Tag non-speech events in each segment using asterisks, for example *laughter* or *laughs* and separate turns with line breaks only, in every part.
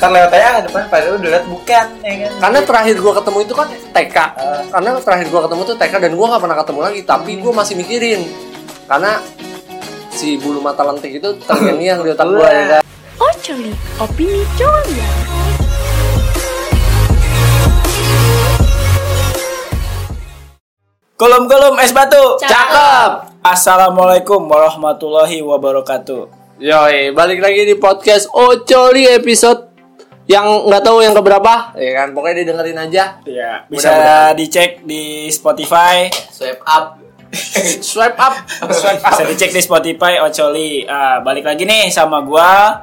ntar lewat aja ke depan padahal udah liat bukan ya kan
Karena terakhir gua ketemu itu kan TK.
Eh.
Karena terakhir gua ketemu tuh TK dan gua nggak pernah ketemu lagi. Tapi gua masih mikirin karena si bulu mata lentik itu terngiang-ngiang di otak gua ya kan.
Ocoli, opini Jolly.
Kolom-kolom es batu.
Cakep.
Assalamualaikum warahmatullahi wabarakatuh.
Yoi, balik lagi di podcast Ocoli episode yang nggak tahu yang keberapa, ya kan? Pokoknya didengerin aja.
Ya, bisa
mudah-mudahan.
dicek di Spotify,
Swipe up, swipe up, swipe up.
bisa dicek di Spotify Ocoli. Ah, balik lagi nih sama gua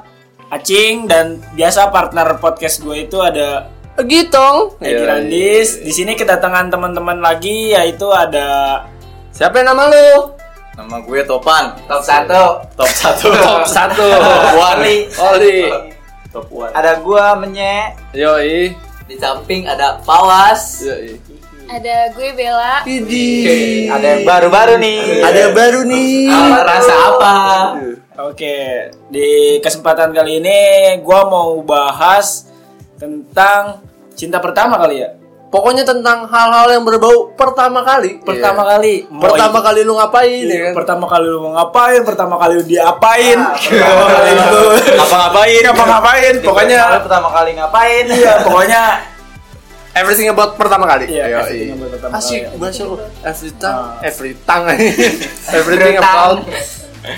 Acing dan biasa partner podcast gue itu ada
Gitong,
Edi
Yoi.
Randis. Di sini kedatangan teman-teman lagi yaitu ada
Siapa yang nama lu?
nama gue Topan top satu *laughs* top satu
Top satu,
Oli.
Wali, Oli,
Top One.
ada gue menye
Yoi,
di samping ada Pawas
Yoi.
Ada gue Bella.
Widih.
ada yang baru-baru nih
Ada yang baru nih.
apa rasa apa
Oke, di kesempatan kali ini gua mau bahas tentang cinta pertama kali ya.
Pokoknya tentang hal-hal yang berbau pertama kali.
Pertama
Iya.
kali, mau
Pertama kali lu
Iya,
ngapain ya kan?
pertama kali lu mau ngapain pertama kali lu diapain *laughs* pertama kali lu
apa ngapain
apa ngapain iya. pokoknya
pertama kali ngapain
iya pokoknya
Everything about pertama kali.
Iya,
Yoi.
everything about pertama
Asik
kali.
bahasa lu. Every tang,
Ah.
every tang. *laughs* everything
Frutang.
about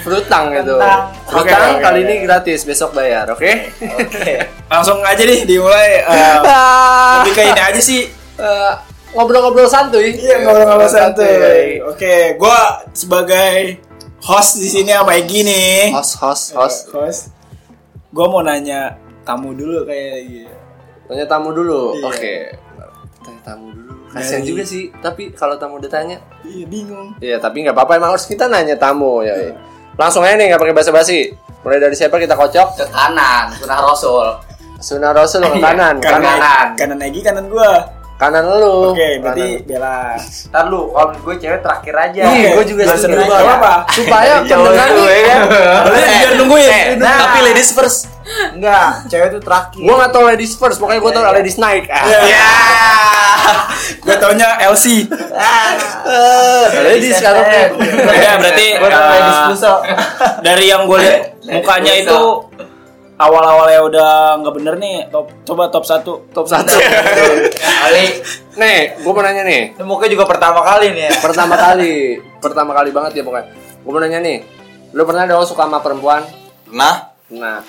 frutang itu.
Frutang.
Frutang
Oke, oke,
kali
oke.
ini gratis, besok bayar, oke?
*laughs*
*laughs*
oke
langsung aja nih *laughs* dimulai eh,
Ah,
lebih ke ini aja sih
eh, ngobrol-ngobrol santuy. iya,
iya ngobrol-ngobrol santai oke gua sebagai host di sini sama Egi nih
Host, host, host.
host gua mau nanya tamu dulu kayak gitu
Tanya tamu dulu.
Iya.
Oke. Tanya tamu dulu. Kasian
Dari-
juga sih, tapi kalau tamu udah tanya,
iya bingung
Iya, tapi nggak apa-apa emang harus kita nanya tamu ya. Langsung aja nih nggak pakai basa-basi. Mulai dari siapa kita kocok?
ke kanan sunah rasul
Sunnah Rasul ke kanan, kanan,
Iya, kanan kanan Egi kanan gua
kanan lu.
oke berarti Bella
ntar lu kalau menurut gue cewek terakhir aja
Iya,
Oke,
gue juga
gua
setuju
setuju.
banget.
Gak apa-apa.
Supaya pendengar
Jauh
nih,
ya kan?
Boleh biar nungguin.
nah.
tapi ladies first.
enggak cewek itu terakhir
Gue nggak tau ladies first, pokoknya gue tau ladies naik. Ah.
Ya. Gue taunya LC.
Nah, Ladies sekarang
Eh,
Ya, berarti,
Gua tau
eh,
ladies buso.
Dari yang gue lihat mukanya itu awal-awalnya udah nggak bener nih. Top, coba top satu.
top satu.
Ali
nih, gue mau nanya nih.
ini mukanya juga pertama kali nih ya
Pertama kali, pertama kali banget ya pokoknya. Gue mau nanya nih, lu pernah dong suka sama perempuan?
Nah,
Nah,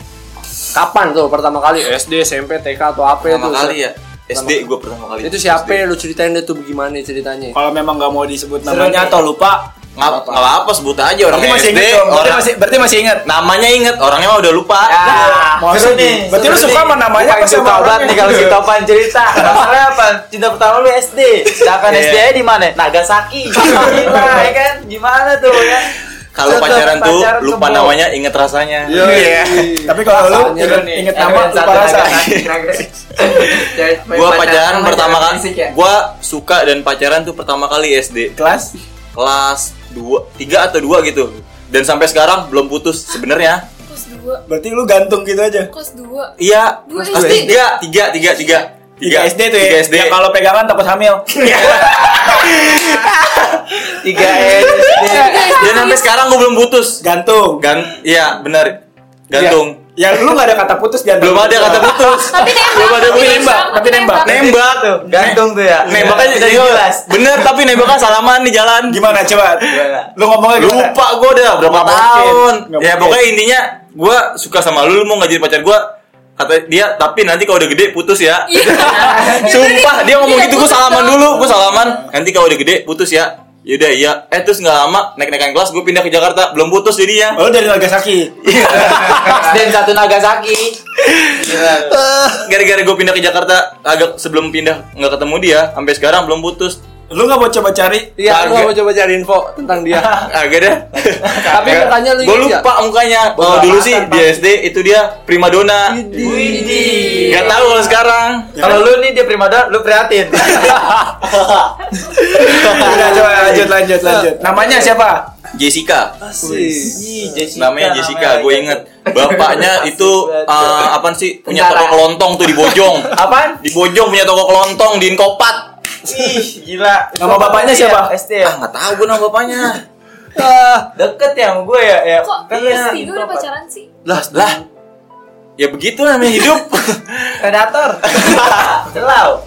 kapan tuh pertama kali SD, SMP, TK atau apa itu?
pertama kali ya. SD gue pertama kali.
Itu siapa ya? lu ceritain deh tuh gimana
*laughs*
ceritanya?
Kalau memang nggak mau disebut namanya atau lupa,
Nggak nggak apa-apa sebut aja
berarti
orangnya
masih
SD.
inget dong. Berarti
orang-
masih, berarti masih inget.
namanya inget, orangnya mah udah lupa.
Ah,
Maksud- Ya. berarti lu suka sama namanya apa sama
tobat
orangnya?
nih kalau si Topan cerita. Masalahnya apa? Cinta pertama lu SD. Sedangkan
Iya.
SD nya di mana?
*laughs*
Nagasaki. Gila, ya kan? Gimana tuh ya?
Kalau
Tetep
pacaran tuh
pacaran
lupa
kebo.
namanya, inget rasanya.
Iya.
Tapi kalau lu
Rasanya
inget,
nih,
Eh,
inget nama lupa rasa. *laughs*
Gue pacaran pertama kali.
ya? Iya,
Gue suka dan pacaran tuh pertama kali SD
Kelas.
kelas 2, 3 atau 2 gitu. Dan sampai sekarang belum putus sebenarnya.
Kos dua,
Berarti lu gantung gitu aja.
kos dua.
Iya.
Dua
Kelas
SD?
tiga, tiga, tiga, tiga.
Tiga
Tiga
SD tuh ya.
Tiga SD.
Yang kalau pegangan takut hamil.
Tiga SD.
Dan sampai
ya?
sekarang gue belum putus.
Gantung.
Gan, iya benar. Gantung.
Ya lu nggak ada kata putus dia
Belum ada kata putus.
Tapi nembak.
Belum ada gue nembak.
tapi nembak.
Nembak
Tuh, gantung tuh ya.
Nembaknya
Udah
jadi
jelas.
Iya. Bener tapi nembaknya salaman di jalan.
Gimana coba? Lu ngomongnya gimana?
Lupa gue udah berapa
Nggak
tahun.
mungkin. Nggak
Ya
mungkin.
pokoknya intinya gue suka sama lu, lu mau nggak jadi pacar gue? Kata dia, tapi nanti kalau udah gede putus ya. *laughs*
Iya.
Sumpah dia ngomong gitu gue salaman dulu, gue salaman. Nanti kalau udah gede putus ya. Yaudah iya. Eh terus nggak lama naik-naikan kelas gue pindah ke Jakarta, belum putus jadinya.
*laughs* Oh dari Nagasaki.
SD yang satu Nagasaki. Gila.
Gara-gara gue pindah ke Jakarta agak sebelum pindah nggak ketemu dia, sampai sekarang belum putus.
Lu nggak mau coba cari?
Iya, aku
Kagak.
mau coba cari info tentang dia.
Agak deh.
*laughs* Tapi mukanya lu
Gue
inget ya?
lupa mukanya. Kalau dulu sih di SD itu dia primadona.
Widih.
Gak tahu kalau sekarang.
Kalau lu nih dia primadona, lu
*laughs*
prihatin.
Udah coba lanjut Nah, lanjut lanjut. Namanya siapa?
Jessica.
Iya.
Wih.
Ih, Jessica
Namanya Jessica, gue inget. Bapaknya itu eh, apaan sih punya toko kelontong tuh di Bojong.
Apaan?
Di Bojong punya toko kelontong di Inkopat.
Ih, gila.
Nama bapaknya siapa?
SD ya?
Ah, nggak tahu gue nama bapaknya.
Deket ya sama gue ya. ya.
Kok
iya,
si gue udah pacaran sih?
Lah, lah. Ya begitu namanya hidup.
Predator. *laughs* Celau.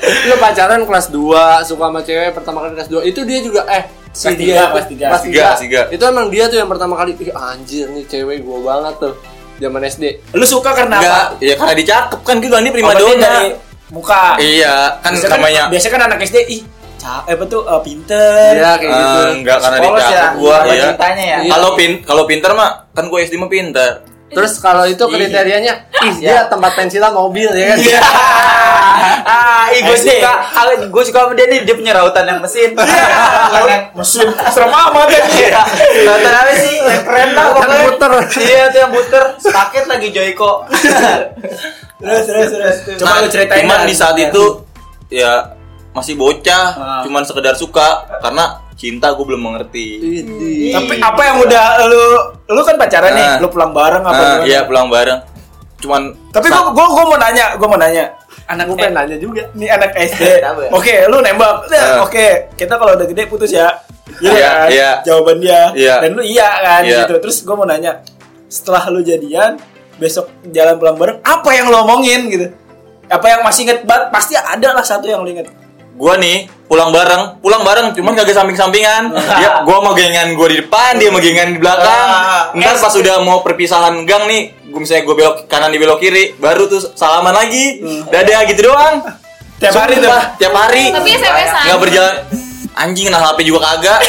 Eh, Lu pacaran kelas 2, suka sama cewek pertama kali kelas 2. Itu dia juga eh si
Kelas
dia
tiga, kelas tiga.
Tiga, tiga.
Itu emang dia tuh yang pertama kali Ih, anjir nih cewek gua banget tuh. Zaman SD.
Lu suka karena
Enggak,
apa?
ya karena dicakep kan gitu Andi prima
Obatnya dari
dona.
muka.
Iya, kan
Biasanya
namanya
biasa kan anak SD ih ca- eh, apa tuh eh, pinter.
Iya kayak gitu.
Eh, enggak karena
Polos ya.
dicakep gua
Apa
ya.
Ceritanya ya.
Iya.
Kalau pin kalau pintar mah kan gue SD mah pintar.
Terus kalau itu kriterianya ih dia tempat pensilan mobil ya kan.
Ah, ih, gue
SD.
suka. Kalau gue suka sama dia nih, dia punya rautan yang mesin.
Iya.
Bukan yang
Mesin serem amat ya.
Rautan apa sih? *laughs* Yang keren lah
Yang
pokoknya.
puter.
Iya, itu yang puter. Paket lagi Joyko.
Terus terus terus. Coba
Nah,
lu ceritain. kan.
Cuman
Dan.
di saat itu ya masih bocah,
Ah.
cuman sekedar suka karena cinta gue belum mengerti.
iya.
Idih.
Tapi apa yang udah lu lu kan pacaran nih,
Nah.
lu pulang bareng apa
Nah,
gimana?
iya pulang bareng. Cuman
Tapi gua, gua gua mau nanya, gua mau nanya. Anak
Gua
eh,
pengen nanya juga.
Ini anak ya? SD.
Kenapa?
Oke, lu nembak. Nah,
Eh.
Oke, kita kalau udah gede putus ya.
Iya,
kan?
iya.
Jawaban dia.
Iya.
Dan lu iya kan
Iya.
gitu. Terus gua mau nanya, setelah lu jadian, besok jalan pulang bareng, apa yang lu omongin gitu? Apa yang masih inget banget? Pasti ada lah satu yang lu inget.
gua nih pulang bareng, pulang bareng cuman kagak
Ah.
samping-sampingan. Dia gua mau gengan gua di depan, dia mau gengan di belakang.
Ah.
Ntar pas udah mau perpisahan gang nih, gua misalnya gua belok kanan di belok kiri, baru tuh salaman lagi. Dadah gitu doang.
Hmm. Tiap hari tuh.
Sumpah, tiap hari.
Tapi SMS-an.
Nggak berjalan. Anjing nah HP juga kagak.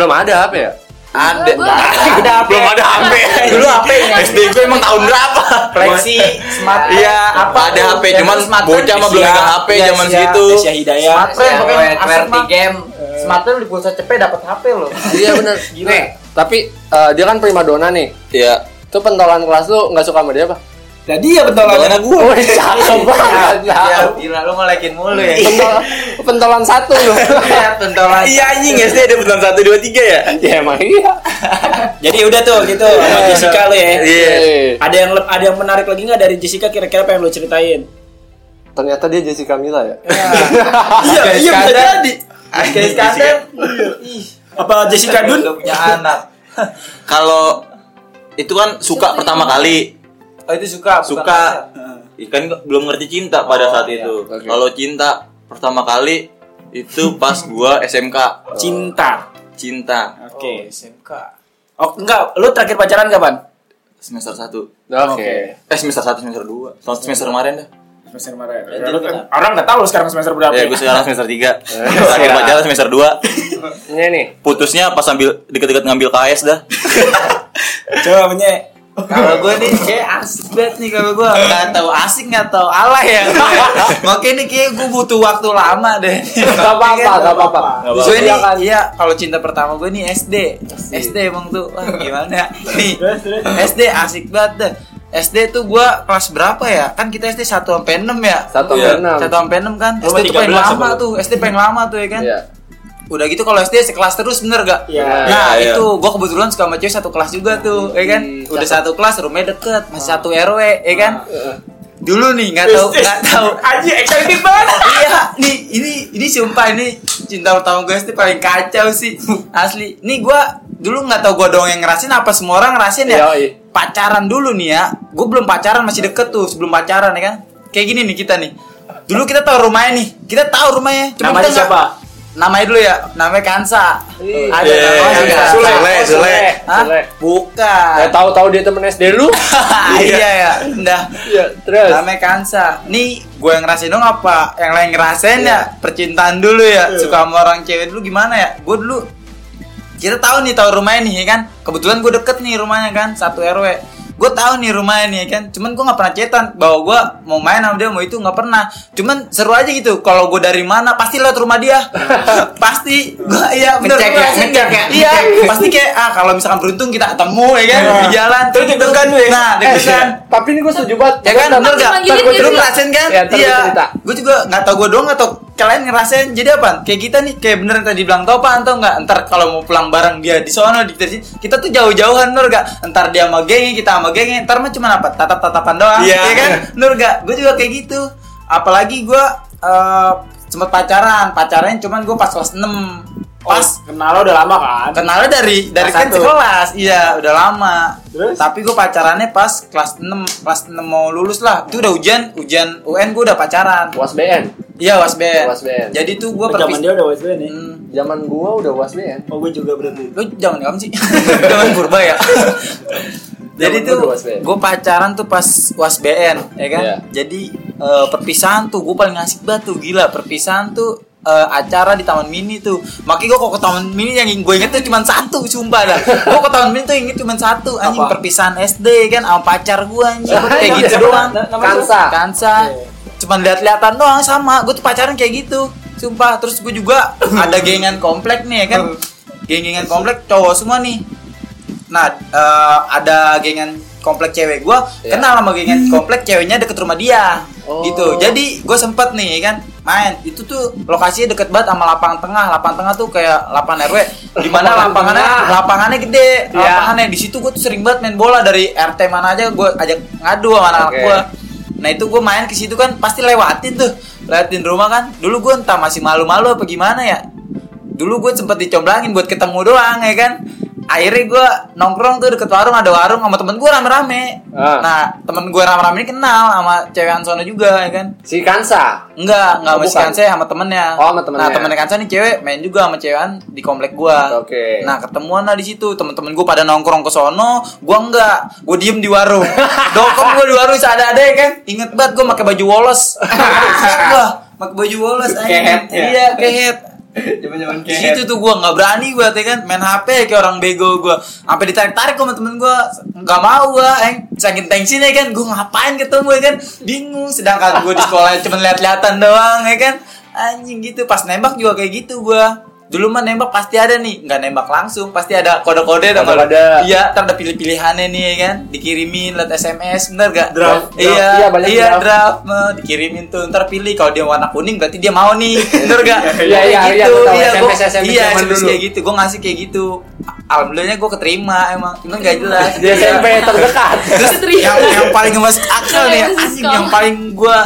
Belum ada apa ya?
Ada.
Belum ada
HP. Belum ada HP. Dulu HP SD gue emang tahun berapa?
Flexi, smart.
Iya,
Apa
ada
tuh?
HP
Yang
cuman
smartphone
bocah mah belum
Iya,
megang HP
iya,
zaman
iya,
segitu.
Iya, Hidayah.
Smart friend,
Yang
pokoknya
WTWR
asem mah.
game.
Smart friend di pulsa cepet dapat HP loh.
Iya benar.
Gila.
Nih, tapi eh, dia kan prima dona nih.
Iya.
Itu pentolan kelas lu nggak suka sama dia apa?
Jadi ya betul
Karena
lah.
gue.
Wih, *laughs* cakep
*laughs*
banget.
Ya, gila lu ngelekin mulu ya.
Pentol- pentolan satu lu.
Iya, tentolan.
Iya anjing SD ada bulan 1 2 3 ya.
ya emang iya.
Jadi udah tuh gitu sama Jessica lu ya.
Iya.
Eh,
Ada yang le- ada yang menarik lagi nggak dari Jessica kira-kira apa yang lu ceritain?
Ternyata dia Jessica Mila ya.
*laughs*
Iya, iya bisa
Iskandar.
jadi.
Kayak sekarang. Ih,
Apa Jessica Dun?
lu punya anak.
Kalau itu kan suka pertama kali.
Oh, itu suka. bukan
Suka.
pacar.
Ikan belum ngerti cinta
Oh,
pada saat
iya.
itu.
Oke.
Kalau cinta pertama kali itu pas gua SMK
Cinta.
cinta
Oh,
Oke.
SMK.
Oh, enggak, lu terakhir pacaran kapan?
semester 1
Oke.
eh semester 1 semester 2 semester kemarin dah
Semester kemarin. orang nggak tahu lu sekarang semester berapa.
ya gue sekarang semester 3 terakhir pacaran semester 2
Ini nih.
putusnya pas sambil deket-deket ngambil KS dah
Coba punya.
Kalau gue nih, kayak asik banget nih kalau gue nggak tahu asik nggak tahu alay ya. Makanya nih kayak gue butuh waktu lama deh.
Gak apa-apa, gak apa-apa. kan?
apa-apa.
Gue nih,
Silakan.
iya kalau cinta pertama gue nih SD. SD emang tuh,
*laughs*
wah gimana? Nih, SD asik banget deh. SD tuh gue kelas berapa ya? Kan kita SD 1 sampai 6 ya?
Satu
Iya.
enam.
satu sampai enam kan
Lu
SD tuh paling
13
lama
apa lu?
tuh SD paling lama tuh ya kan
Iya.
udah gitu kalau SD sekelas terus bener gak
Iya.
nah
Iya, iya.
itu gua kebetulan suka sama cewek satu kelas juga tuh ya kan
Hmm,
udah
cakep. Ah.
satu kelas rumahnya deket masih satu RW ya kan dulu nih nggak tahu nggak tahu
Aji excited banget.
iya nih ini ini sumpah ini cinta pertama gue SD paling kacau sih asli nih gua dulu nggak tahu gue doang yang ngerasin apa semua orang ngerasin ya
Yoi.
pacaran dulu nih ya gue belum pacaran masih deket tuh sebelum pacaran ya kan kayak gini nih kita nih dulu kita tahu rumahnya nih kita tahu rumahnya cuma
Namanya
kita nggak-
siapa?
namanya dulu ya namanya Kansa ada
Iya,
Oh,
namanya
iya.
Kansa.
Sule, Sule, Sule.
Hah?
Sule.
bukan
Eh, tahu-tahu dia temen SD lu.
*laughs* iya ya udah
Iya, terus.
Rame kansa. Nih gue yang ngerasain dong apa? Yang lain ngerasain
Iya.
ya percintaan dulu ya. Suka sama orang cewek dulu gimana ya? Gue dulu kita tahu nih tahu rumahnya nih ya kan. Kebetulan gue deket nih rumahnya kan satu RW. Gue tahu nih rumahnya nih ya kan. Cuman gue nggak pernah cetan bahwa gue mau main sama dia mau itu nggak pernah. Cuman seru aja gitu. Kalau gue dari mana pasti lihat rumah dia.
*laughs*
pasti gue iya bener
Ngecek
gua
ya,
ngerasain
ngecek Iya. ya,
Iya pasti kayak ah kalau misalkan beruntung kita ketemu ya kan di jalan. Terus deg-degan Nah deg-degan.
Iya.
tapi ini gue setuju banget.
Ya kan, bener gak?
Manggilin
Ntar gua-
gitu
Lu
ya?
ngerasain kan?
Ya, ntar gua cerita.
Gue juga gak tau gue doang atau kalian ngerasain. Jadi apa? Kayak kita nih, kayak bener yang tadi bilang Topan tau gak? Ntar kalau mau pulang bareng dia di sono, di sini. Kita tuh jauh-jauhan, bener gak? Ntar dia sama gengnya, kita sama kalau geng ntar mah cuma apa tatap tatapan doang
Iya.
ya kan nur gak gue juga kayak gitu apalagi gue eh, sempet pacaran pacaran cuman gue pas kelas 6 pas
kenal lo udah lama kan?
kenalnya dari dari
Kelas
kan
satu.
sekolah iya udah lama
Terus?
tapi gue pacarannya pas kelas 6 kelas 6 mau lulus lah itu udah ujian ujian UN gue udah pacaran
Was BN.
iya wasben
Wasben.
jadi tuh gue
Zaman dia udah wes nih.
Zaman gua udah was BN.
Oh gue juga berarti.
lu jangan kamu sih *laughs* jangan purba ya *laughs* jadi
Zaman
tuh
gua was BN.
gue pacaran tuh pas was BN ya kan
Iya.
jadi eh, perpisahan tuh gue paling asik banget tuh gila perpisahan tuh eh, acara di taman mini tuh makanya gue kok ke taman mini yang gue inget tuh cuma satu sumpah dah gue ke taman mini tuh inget cuma satu anjing
Apa?
perpisahan SD kan sama pacar gue anjing
Lah,
kayak
iya.
gitu doang
Nama- nama
Kansa.
Kansa. Cuman lihat-lihatan doang sama. Gue tuh pacaran kayak gitu. Sumpah, terus gue juga *clears throat* ada gengan komplek nih ya kan.
Hmm.
Gengan komplek cowok semua nih. Nah, eh, ada gengan komplek cewek gue
Iya.
kenal sama gengan komplek ceweknya deket rumah dia
Oh.
gitu jadi gue sempet nih ya kan main itu tuh lokasinya deket banget sama lapangan tengah lapangan tengah tuh kayak lapangan rw di mana
Lapangan
lapangannya
tengah.
lapangannya gede
Iya.
lapangannya di situ gue tuh sering banget main bola dari rt mana aja gue ajak ngadu sama anak
Oke.
gue nah itu gue main ke situ kan pasti lewatin tuh lewatin rumah kan dulu gue entah masih malu-malu apa gimana ya dulu gue sempet dicomblangin buat ketemu doang ya kan akhirnya gue nongkrong tuh deket warung ada warung sama temen gue rame-rame
Ah.
nah temen gue rame-rame ini kenal sama cewek Ansono juga ya kan
Si Kansa.
Enggak, enggak
Oh,
sama si
bukan.
Kansa sama temennya.
Oh, sama temennya.
Nah, temennya Kansa nih cewek main juga sama cewekan di komplek gua.
Oke.
Nah, ketemuan lah di situ. Temen-temen gua pada nongkrong ke sono, gua enggak. Gua diem di
*laughs*
warung. Dokem gua di warung seada-ada ya kan. Ingat banget gua pakai baju wolos.
*laughs*
Ingat gua pakai baju wolos anjing.
Kehet, ya?
Iya, kehet.
Zaman-zaman
Di situ tuh gua nggak berani gua ya kan main HP kayak orang bego gua. Sampai ditarik-tarik sama temen gua. Nggak mau gua, eng. Saking tensinya ya kan gua ngapain ketemu ya kan. Bingung sedangkan gua di sekolah *laughs* cuma lihat-lihatan doang ya kan. Anjing gitu pas nembak juga kayak gitu gua. Dulu mah nembak pasti ada nih, nggak nembak langsung, pasti ada kode-kode dong.
Kode-kode.
Iya, ntar ada pilih-pilihannya nih ya kan, dikirimin lewat SMS, bener gak? Iya,
draft.
Draft,
Iya,
iya,
banyak
iya
draft.
draft. mah, dikirimin tuh, ntar pilih kalau dia warna kuning berarti dia mau
*laughs*
nih, bener gak?
Iya, iya,
Kayak
iya,
gitu,
betul.
iya, gua-
SMS, SMS
iya,
zaman
SMS
dulu.
kayak gitu, gue ngasih kayak gitu. Alhamdulillahnya gue keterima emang, cuman gak jelas.
Di SMP terdekat.
*laughs*
Terus
Keterima.
yang, yang paling masuk akal nih,
Yang masuk
anjing
sekolah.
yang paling gue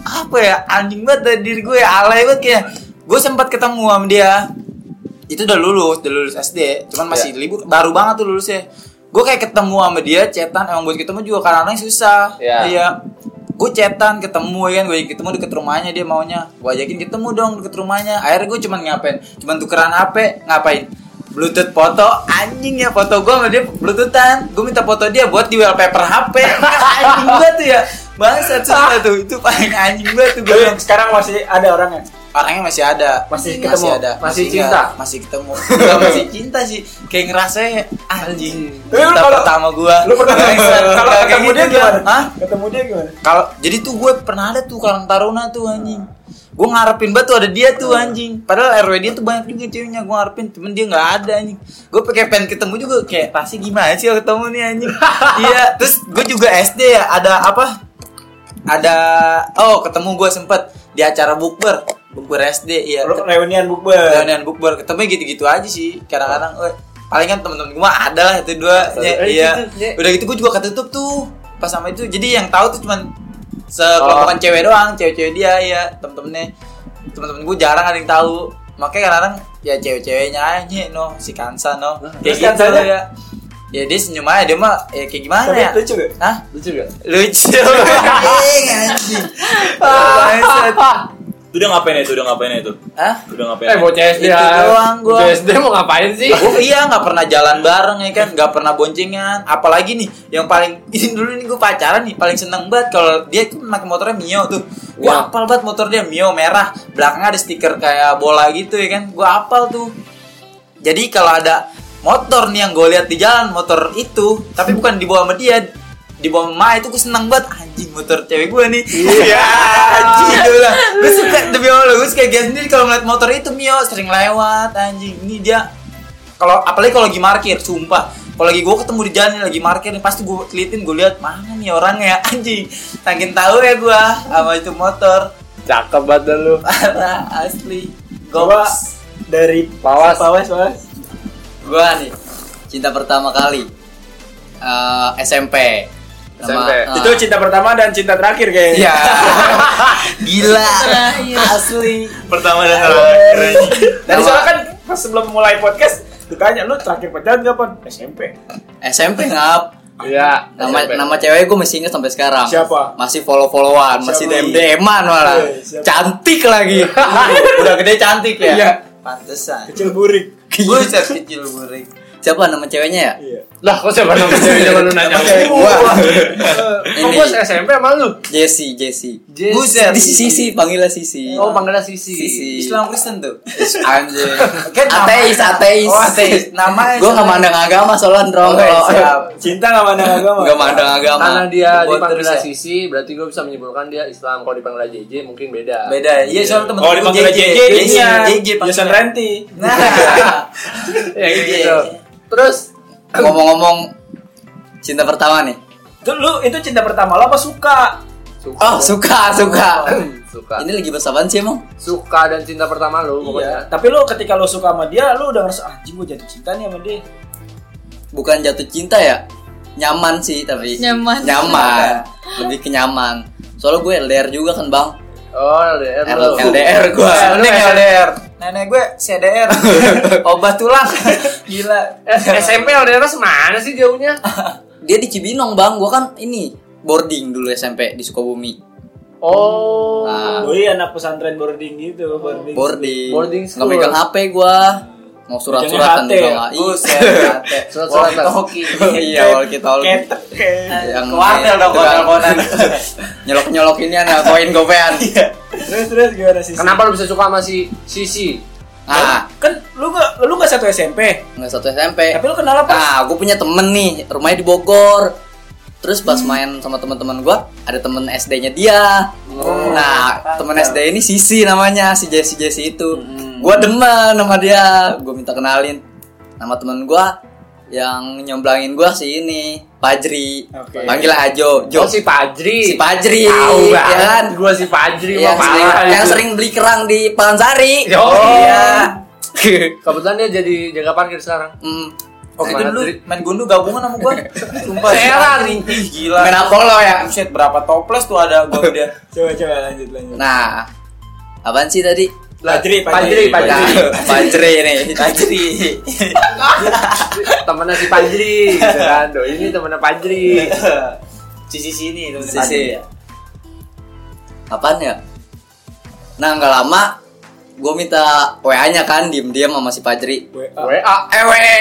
apa ya anjing banget dari diri gue ya, alay banget kayak gue sempat ketemu sama dia itu udah lulus udah lulus SD cuman masih libur baru banget tuh lulusnya gue kayak ketemu sama dia cetan emang buat ketemu juga karena orangnya susah
Iya.
iya gue cetan ketemu ya kan gue ketemu deket rumahnya dia maunya gue ajakin ketemu dong deket rumahnya akhirnya gue cuman ngapain cuman tukeran HP ngapain bluetooth foto anjing ya foto gue sama dia bluetoothan gue minta foto dia buat di wallpaper HP *laughs* anjing gue tuh ya bangsat susah tuh itu paling anjing gue tuh gue bilang
sekarang masih ada orangnya.
orangnya masih ada
Masih ketemu?
ada
Masih cinta?
enggak, masih ketemu Enggak, masih cinta sih kayak ngerasa ya, anjing
Tapi lu
cinta
kalau-
pertama gua
Lu pernah
Bangsat.
kalau
Enggak, kayak
ketemu dia
gitu gua.
gimana?
Hah?
Ketemu dia gimana?
kalau jadi tuh gue pernah ada tuh kalang taruna tuh anjing gue ngarepin banget tuh ada dia tuh anjing padahal rw dia tuh banyak juga ceweknya gue ngarepin cuman dia nggak ada anjing gue pakai pengen ketemu juga kayak pasti gimana sih kalau ketemu nih anjing iya terus gue juga sd ya ada apa ada oh ketemu gue sempet di acara bukber bukber sd iya
Lu reunian bukber.
reunian bukber ketemu gitu-gitu aja sih kadang-kadang eh, paling kan temen-temen gue mah ada lah itu dua
Satu.
ya,
Eh,
iya
gitu, ya.
udah gitu gue juga ketutup tuh pas sama itu jadi yang tahu tuh cuman sekelompokan
Oh.
cewek doang cewek-cewek dia ya temen-temennya temen-temen gue jarang ada yang tahu makanya kadang-kadang ya cewek-ceweknya aja no si Kansa no
terus
kayak gitu
Kansanya?
ya ya dia senyum aja dia mah ya kayak gimana
Tapi
ya
lucu gak?
Hah?
Lucu gak?
lucu
*laughs*
anjing anjing
Ah.
Ah.
Bangsat.
Itu udah ngapain ya itu? Udah ngapain ya itu?
Hah?
Udah ngapain?
Eh
ya?
bocah SD
Itu
ah.
doang gua.
Bocah SD mau ngapain sih?
Oh iya nggak pernah jalan bareng ya kan nggak pernah boncengan apalagi nih yang paling *laughs* ini dulu nih gue pacaran nih paling seneng banget kalau dia tuh pakai motornya Mio tuh gue
Wah.
apal banget motor dia Mio merah belakangnya ada stiker kayak bola gitu ya kan gue apal tuh jadi kalau ada motor nih yang gue lihat di jalan motor itu tapi bukan dibawa sama dia dibawa sama Maya itu gue seneng banget anjing motor cewek gue nih *laughs* iya anjing gue bilang gue suka demi Allah gue suka gaya sendiri kalau ngeliat motor itu Mio sering lewat anjing ini dia kalau apalagi kalau lagi markir sumpah kalau lagi gue ketemu di jalan nih, lagi markir nih pasti gue telitin gue lihat mana nih orangnya *laughs* anjing saking tahu ya gue sama itu motor *laughs*
Cakep banget dah lu.
parah asli gue
Coba dari
Pawas.
Pawas, Pawas.
gua nih cinta pertama kali eh, SMP. Nama,
SMP.
eh, *laughs*
Itu cinta pertama dan cinta terakhir kayaknya. *laughs*
Iya. Gila.
Terakhir.
Asli.
Pertama
Eh,
dan terakhir.
Tadi soalnya kan pas sebelum mulai podcast ditanya lu terakhir pacaran kapan? SMP.
SMP ngap.
Iya.
Nama nama cewek gue masih inget sampai sekarang.
Siapa?
Masih follow-followan, masih
Siapa?
DM DM-an malah.
Iya, siapa?
Cantik lagi. *laughs*
Udah gede cantik ya.
Iya.
Pantesan.
Kecil burik.
Buset kecil burik.
Siapa nama ceweknya ya?
Iya.
Lah, kok siapa *laughs*
*laughs*
nama cewek zaman lu nanya?
Pakai gua.
Kok
Oh,
gua SMP sama lu?
Jessie, Jessie.
Jessie.
Buset, di sisi panggilnya sisi.
Oh, panggilnya Sisi.
sisi.
Islam Kristen tuh.
Anjir.
Kan nama-
ateis, ateis.
Oh, ateis. Namanya
Gue gak
sama-
mandang agama soalnya Ndrong.
Oke,
Kalau-
siap.
Cinta nggak mana agama.
Gak mandang agama.
Karena dia
Buat
dipanggilnya
terus ya.
Sisi, berarti gua bisa menyimpulkan dia Islam. Kalau dipanggilnya JJ mungkin beda.
Beda ya. Iya, soal temen
Oh,
gua
dipanggil JJ.
Iya.
JJ. JJ
iya. Jason
panggilnya.
Renti.
Nah.
*laughs* Ya gitu. Terus
*laughs* Ngomong-ngomong cinta pertama nih.
Itu lu itu cinta pertama lo apa suka?
suka.
Oh, *clears throat* suka, suka.
suka.
Ini lagi bahas apaan sih emang?
Suka dan cinta pertama lu
Iya.
pokoknya.
Tapi lu ketika lu suka sama dia, lu udah ngerasa ah anjing gua jatuh cinta nih sama dia.
Bukan jatuh cinta ya? Nyaman sih tapi.
Nyaman.
Nyaman. Lebih ke nyaman. Soalnya gue LDR juga kan, Bang.
Oh, LDR lu.
LDR gue.
Wah, lu LDR. Nenek gue CDR. Obat tulang. Gila.
Eh, SMP LDR semana sih jauhnya?
Dia di Cibinong, Bang. Gue kan ini boarding dulu SMP di Sukabumi.
Oh.
Nah,
Oh iya anak pesantren boarding gitu, boarding.
boarding.
Boarding
Nggak
school.
megang HP gua. Mau surat-suratan
Jangan
juga.
HT.
Buset.
Surat-suratan.
Iya, walkie talkie.
Ketek kayak.
Yang
Ke wartel dong,
itu kan. *laughs*
konan-konan.
Nyolok-nyolok ini anak koin gopean.
Terus terus gimana sih?
Kenapa lu bisa suka sama si Sisi?
Ah,
Kan lu gak lu gak satu SMP.
nggak satu SMP.
Tapi lu kenal apa?
Ah, gue punya temen nih, rumahnya di Bogor. Terus pas main sama teman-teman gue, ada temen SD-nya dia. nah, temen SD ini Sisi namanya, si Jesse Jesse itu. Gue demen sama dia, gue minta kenalin. Nama temen gue yang nyomblangin gue si ini, Pajri.
Oke.
Panggil Ajo, Jo.
Oh, si
Si
Pajri.
Pajri,
Tahu
ya
banget
kan?
Gua si Pajri
Iya,
Yang
mah
sering,
parah
yang
itu.
sering beli kerang di Palansari.
Oh.
iya.
Kebetulan dia jadi jaga parkir sekarang.
Hmm,
Waktu itu
Mana
dulu
tri-
main gundu gabungan sama gua. *laughs* Sumpah.
Heran.
Ih, gila.
main Apollo ya.
Buset, Kan, berapa toples tuh ada gua udah.
*laughs*
Coba coba lanjut lanjut.
Nah, apaan sih tadi?
Pajri,
Pajri,
Pajri.
Iya, *laughs*
Nah,
Pajri.
Fajri nih.
Kacri.
Temennya si Pajri, gitu kan? Doi ini temennya
*laughs*
Pajri.
Sisi sini tuh.
Sisi. Apaan ya? Nah, nggak lama gue minta WA-nya kan diem-diem sama si Fajri.
WA.
WA.
Eh, WA.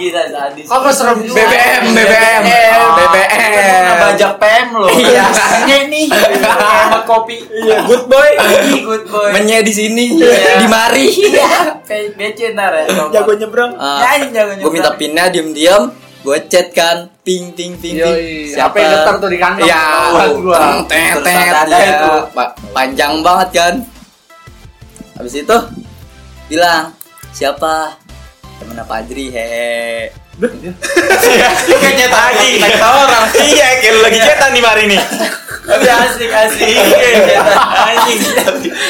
Gila sadis.
Kok gua serem juga?
BBM, BBM,
Oh.
BBM.
Kena bajak PM lo.
Iya.
Rasanya nih. Sama kopi.
Iya, good boy.
Ih, Good boy.
Menye di sini,
Iya.
di mari.
*laughs* Kayak Becin ntar ya.
Jago nyebrang.
Ah, gue minta pinnya diem-diem, gue chat kan, ping ping ping ping.
Yoi, HP getar tuh di kantong.
Iya,
Ketahuan gua.
tet
Terus ada
tet
ada
ya.
itu.
Pa- panjang banget kan. Habis itu bilang siapa temennya Padri hehe.
Lu kayak
*laughs*
cetak lagi. Kata orang.
Iya, kayak lu lagi cetan nih hari ini. Iya.
Tapi asik
*laughs*
asik. Iya, Kayak cetak. Anjing.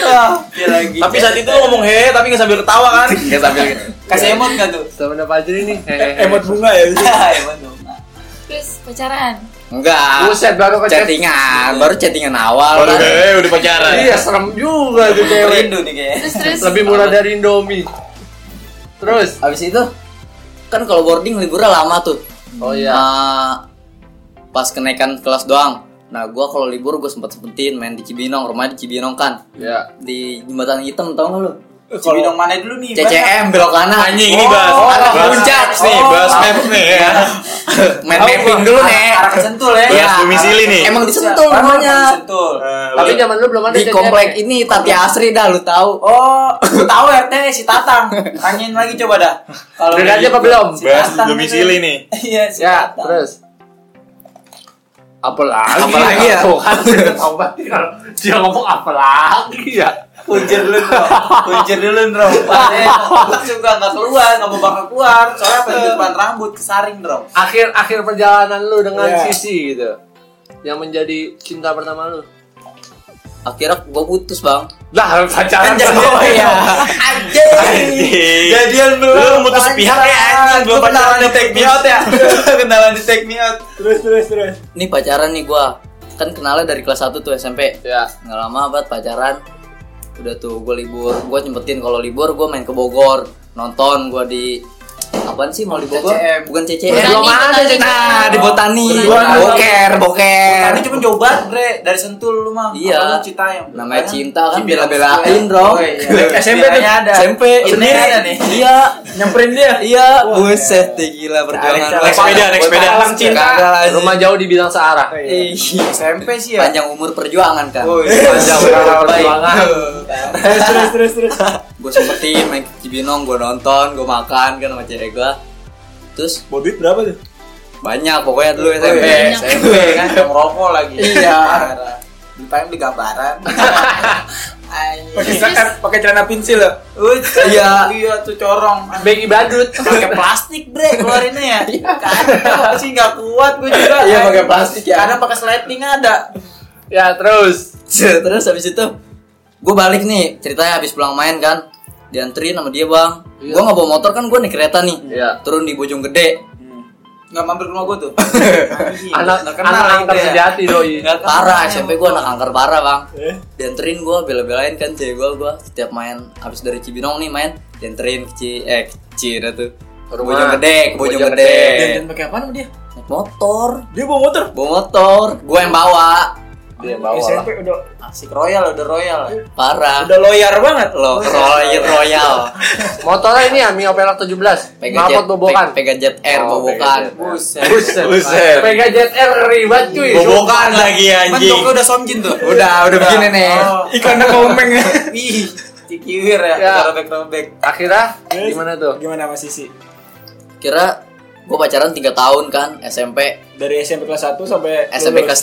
Ah, dia lagi.
Tapi saat itu lu ngomong he, tapi nggak sambil ketawa kan?
Nggak sambil
kasih emot enggak tuh?
Temennya Pajri nih. hehehe.
Eh,
Emot bunga ya.
Ya, emot dong.
Terus pacaran.
enggak.
Buset baru ke
Chattingan, baru chattingan awal
Waduh,
kan.
he, udah pacaran.
Iya, serem juga tuh cewek.
Rindu nih kayaknya.
Terus terus.
Lebih murah dari Indomie. Terus,
Habis itu kan kalau boarding liburnya lama tuh.
oh iya.
Ah, pas kenaikan kelas doang. Nah, gua kalau libur gue sempet sempetin main di Cibinong, rumahnya di Cibinong kan.
Ya.
Di jembatan hitam tau gak lu?
Cibinong mana dulu nih?
CCM belok kanan.
Anjing ini bahas.
Oh, anak
bahas
puncak
maps
sih.
nih, bahas maps nih
Iya.
ya.
Main mapping dulu nek.
Arah ke Sentul ya.
Iya.
Bahas domisili nih.
Emang disentul rumahnya.
Sentul.
Tapi zaman dulu belum ada
Di
chat-chat.
komplek ini Tati Asri dah lu tahu.
Oh, gua tahu RT si Tatang. Tanyain lagi coba dah. Kalau
Udah aja apa belum?
bahas
Tatang
domisili
itu.
nih.
Iya, si
Ya,
Tatang.
terus. Apalagi?
Apalagi ya?
Tuh kan udah tahu banget kalau dia ngomong apalagi ya.
Kunjir dulu, bro. Kunjir dulu, bro. Otak juga nggak keluar, nggak mau bakal keluar. Soalnya penyimpan rambut kesaring, bro.
Akhir akhir perjalanan lu dengan
Iya.
Sisi gitu. Yang menjadi cinta pertama lu.
Akhirnya gue putus, Bang.
Lah pacaran
Jadian ya. Anjing.
Anjing.
Jadian belum.
Lu mutus pihak ya, anjing. Belum
Belum kenalan
pacaran.
di take me out
*laughs*
ya. kenalan di take me out.
Terus terus terus.
Nih pacaran nih gua. Kan kenalnya dari kelas 1 tuh SMP.
Ya.
nggak lama banget pacaran udah tuh gue libur gue nyempetin kalau libur gue main ke Bogor nonton gue di apaan sih mau di Bogor bukan CCM
Botani,
Belum ada,
Botani.
Cek. nah di Botani
Berdua.
boker boker
Tadi cuma jauh banget, Bre. Dari Sentul lu mah.
Iya.
Apa lu Citayam?
namanya
Kan?
cinta kan
Cibinong
bela-belain
Square.
dong
Oh, iya.
SMP tuh.
Kiranya ada.
SMP
Sendiri ada nih.
iya
Nyamperin dia.
iya buset deh, gila perjuangan
Alex,
lu.
Next sepeda, next sepeda.
Palang cinta.
Kagak lah,
Rumah
anjing.
jauh dibilang searah.
Ih,
SMP sih ya.
Iya. panjang umur perjuangan kan
Oh, iya.
panjang
Searah
umur baik
perjuangan.
Terus terus terus terus.
gue sempetin main ke Cibinong gue nonton gue makan kan sama cewek gue terus
Bawa duit berapa tuh?
banyak pokoknya dulu SMP
SMP,
Banyak.
SMP Eh, kan yang rokok lagi.
Iya.
Di time beli gambaran.
Pakai celana pakai celana pensil loh.
Wih,
Iya. *laughs*
Iya tuh corong.
Bagi badut.
pakai plastik bre keluarinnya ya kacau sih nggak kuat gue juga
Iya, pakai plastik ya.
kadang pakai sleting ada
Ya terus.
terus habis itu gue balik nih ceritanya habis pulang main kan dianterin sama dia bang
Iya.
gue nggak bawa motor kan gue naik kereta nih
Iya.
turun di Bojong Gede
nggak mampir ke rumah gue tuh
*laughs*
Anjing,
Anak
nggak kenal
anak
gitu
angkat
ya.
sejati
Iya,
doi.
Nggak kenal.
parah SMP gue anak angker parah bang
Eh.
dianterin gue bela-belain kan cewek gue gue setiap main habis dari Cibinong nih main dianterin ke Ci eh ke Cina tuh ke
Ke rumah.
Bojong Gede ke
Ke
Bojong
Bojonggede.
Gede
Dan-
pakai apa sama dia naik motor
Dia bawa motor.
bawa motor gue yang bawa
Dia yang bawa lah.
SMP udah
asik royal udah royal
parah
udah loyar banget.
lo Royal iya, Royal
Motornya ini ya Mio Pelak 17. Mapot bobokan.
Pega Jet Air
Oh,
bobokan
Pega
buset
Buset. Buset.
Pega Jet Air ribet cuy. *laughs*
Iya, Bobokan lagi anjing.
mentoknya udah somjin tuh
udah udah begini nih
Oh.
Ikan komeng.
ih cikiwir ya
Ya.
robek robek
Akhirnya
Terus?
gimana tuh?
Gimana Mas Sisi?
kira gue pacaran 3 tahun kan SMP
Dari SMP kelas 1 sampai
SMP
lulus.
kelas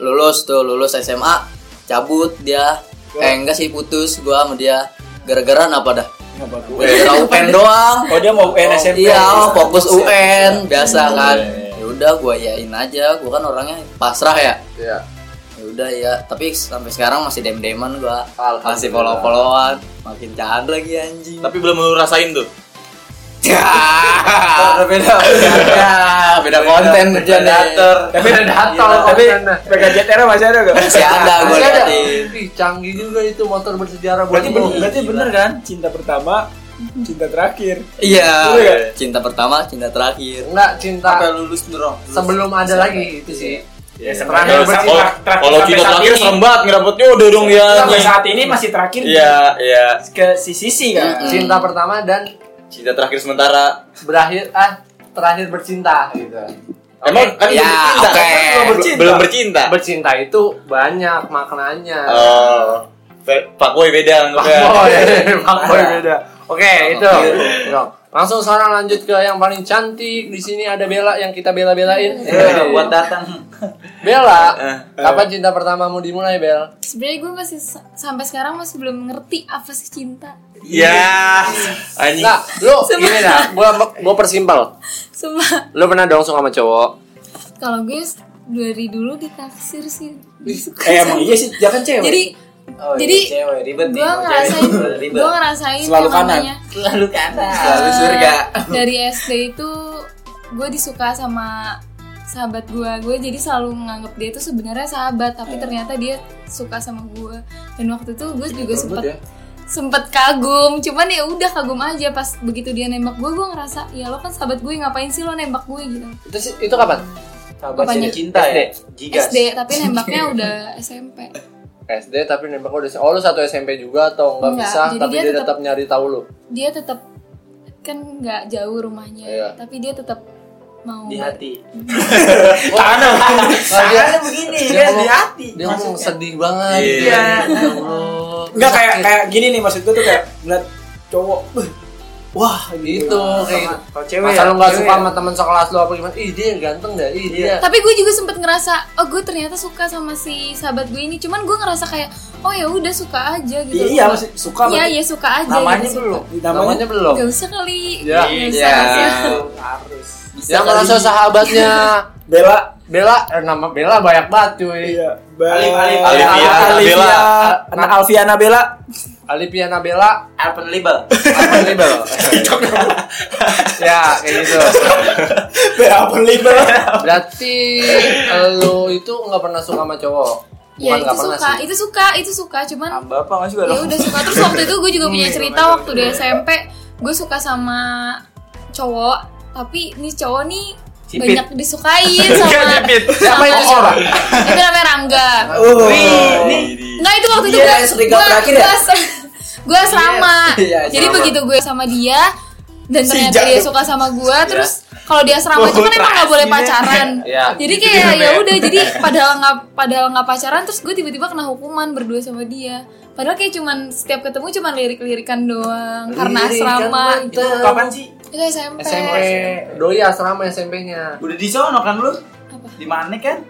3 lulus tuh lulus SMA cabut dia eh enggak sih putus gue sama dia gara-gara apa dah
Nggak bagus.
gara-gara UPN doang
Oh dia mau UN SMP.
iya fokus UN biasa kan ya udah gue yain aja gue kan orangnya pasrah ya
Iya.
ya udah ya tapi sampai sekarang masih dem deman gua
Alhamdulillah.
masih follow followan makin jahat lagi anjing
Tapi *laughs* belum lu rasain tuh.
ya
beda
*laughs* beda konten aja nih
Tapi ada
Predator,
Tapi
kontennya.
Pega Jet Air masih ada
*laughs*
gak?
Nah, masih ada gue
Masih ada.
liatin
Nah, Ih, canggih juga itu motor bersejarah buat
Berarti bener,
lu.
berarti bener kan? Cinta pertama, cinta terakhir.
iya
Iya.
cinta pertama cinta terakhir
Enggak cinta
sampai lulus dorong
sebelum ada lagi itu sih.
Ya,
Kalau
sebenarnya berarti
kalau-
terakhir
kalau
sampai
kita
saat
terakhir
ini.
serem banget ngedapetnya udah dong dia.
Sampai
anjing.
saat ini masih terakhir.
Iya, iya.
Ke si sisi kan?
Cinta pertama dan
Cinta terakhir sementara.
berakhir ah terakhir bercinta gitu.
Emang kan
Ya,
belum bercinta.
oke.
Belum bercinta. Belum bercinta.
Bercinta itu banyak maknanya.
Oh. Pe- Pak Boy beda anggapnya. Iya.
Fuckboy, fuckboy beda. Oke, itu. Dong. Langsung sekarang lanjut ke yang paling cantik. Di sini ada Bella yang kita bela-belain.
Eh, *laughs* buat datang Eh,
Bella, kapan cinta pertamamu dimulai, Bel?
Sebenarnya gue masih sa- sampai sekarang masih belum ngerti apa sih cinta.
Ya. Anjing.
Nah,
*laughs*
lu gini dah. Gua gua persimpel.
Semua
Lu pernah dong sama cowok?
kalau gue s- dari dulu ditaksir sih. Gue suka
Eh emang
sama-
iya sih, dia kan cewek.
Jadi
Oh,
jadi
iya, cewek ribet nih
gue
mau
ngerasain
cewek. ribet
gue ngerasain
Selalu
yang
kanan.
namanya-
selalu kata
Selalu surga.
dari SD itu gue disuka sama sahabat gue gue jadi selalu menganggap dia itu sebenarnya sahabat tapi ternyata dia suka sama gue dan waktu itu gue juga sempet sempet kagum cuman ya udah kagum aja pas begitu dia nembak gue gue ngerasa ya lo kan sahabat gue ngapain sih lo nembak gue gitu
Itu sih- itu kapan?
sahabat sini
Apanya?
cinta ya jigas
SD tapi nembaknya udah *laughs* SMP
SD tapi nembak udah oh lu satu SMP juga atau nggak
Enggak,
bisa
jadi
tapi
dia
dia
tetap-
tetap nyari tahu lu
dia tetap kan nggak jauh rumahnya
Iya.
tapi dia tetap mau
di
ya.
hati
Oh. *laughs* Nah, dia,
Tangannya begini
dia
kan
ngomong-
di hati
dia ngomong sedih banget
Iya.
Ya Allah.
Enggak kayak kayak gini nih maksud gue tuh kayak ngeliat cowok. "Beuh, Wah,
gitu kayak gitu.
kalau cewek
masa
ya,
lu nggak
cewek
suka
ya.
sama teman sekelas lu apa gimana ih dia ganteng dah ih dia
tapi gue juga sempet ngerasa oh gue ternyata suka sama si sahabat gue ini cuman gue ngerasa kayak oh ya udah suka aja gitu
Iya, iya, maksud-
iya
suka berarti.
iya suka aja
namanya
gitu,
belum
namanya
namanya
belum
gak usah kali
Ya.
Nggak usah,
Iya.
nggak usah.
harus.
yang merasa sahabatnya
Bella
Bella eh, nama Bella banyak banget cuy
Iya, Bella.
Alif, Alif,
Alif,
Alif,
Bella.
ya.
anak Alfiana Bella
Alipiana Bella
Alpen Libel.
Unbelievable *laughs* ya kayak gitu
Bella Alpen Libel
berarti lo itu nggak pernah suka sama cowok
Ya
Bukan
itu
nggak pernah
suka,
sih.
itu suka, itu suka, cuman
Bapak nggak suka
ya udah suka terus waktu itu gue juga punya cerita waktu di SMP gue suka sama cowok tapi nih cowok nih
Sipit.
banyak disukain sama
Sipit.
sama
itu orang?
itu namanya Rangga Enggak itu waktu itu
Iya,
gue
yang serigala terakhir ya?
gue asrama
*laughs* Iya,
jadi
asrama.
begitu gue sama dia dan ternyata
Jack.
dia suka sama gue
Iya.
terus kalau dia asrama itu kan emang nggak boleh
*laughs*
pacaran
Iya.
jadi
Gitu
kayak ya udah jadi padahal nggak padahal nggak pacaran terus gue tiba-tiba kena hukuman berdua sama dia padahal kayak cuman setiap ketemu cuman lirik-lirikan doang karena asrama gitu.
Itu kapan sih?
itu SMP,
SMP doi asrama SMP-nya
Udah di sono kan lu? Di mana kan?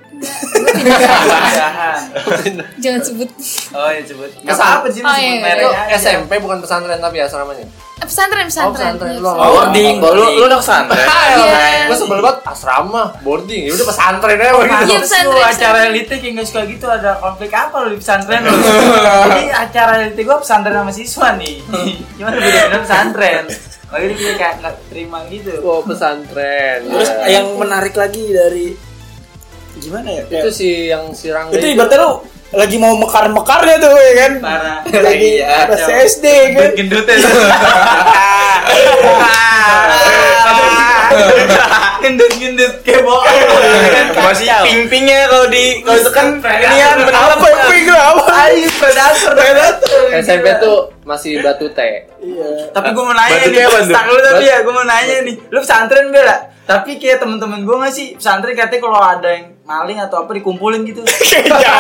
Pindahan.
jangan sebut
*laughs* Oh ya sebut. Enggak apa-apa sih lu
Oh,
sebut
iya.
merek
itu
aja.
SMP bukan pesantren tapi asramanya
Eh, pesantren pesantren,
pesantren
Iya,
doang.
Oh, boarding,
boarding.
lu lu udah pesantren.
Iya.
gue sebel banget asrama boarding ya udah pesantren aja gitu
Iya,
Terus lu
pesantren,
acara elitik yang gak suka gitu ada konflik apa lu di pesantren
*laughs*
lu? Jadi acara elitik gua pesantren sama siswa nih. Cuman beda-beda pesantren. Makanya dia kayak nggak terima gitu.
Oh.
Wow, Oh, pesantren
terus
Ya.
eh,
yang menarik lagi dari gimana ya
itu si yang si Rangga
itu
itu.
ibaratnya lu lagi mau mekar-mekarnya tuh ya kan
Parah.
lagi
Iya,
pas
iya.
SD kan
Gendutnya tuh. Gendut-gendut kayak bohong.
Masih ping-pingnya kalau di kalau itu kan ini ya benar
apa yang pink lah apa
Ayo predator predator.
SMP tuh masih batu teh
iya
Tapi gue mau nanya
Batu
nih,
dia apa tuh?
stang lu tapi ya, gue mau nanya nih, lu pesantren gak lah? Tapi kayak temen-temen gue gak sih, pesantren katanya kalau ada yang maling atau apa dikumpulin gitu
Jangan
Iya,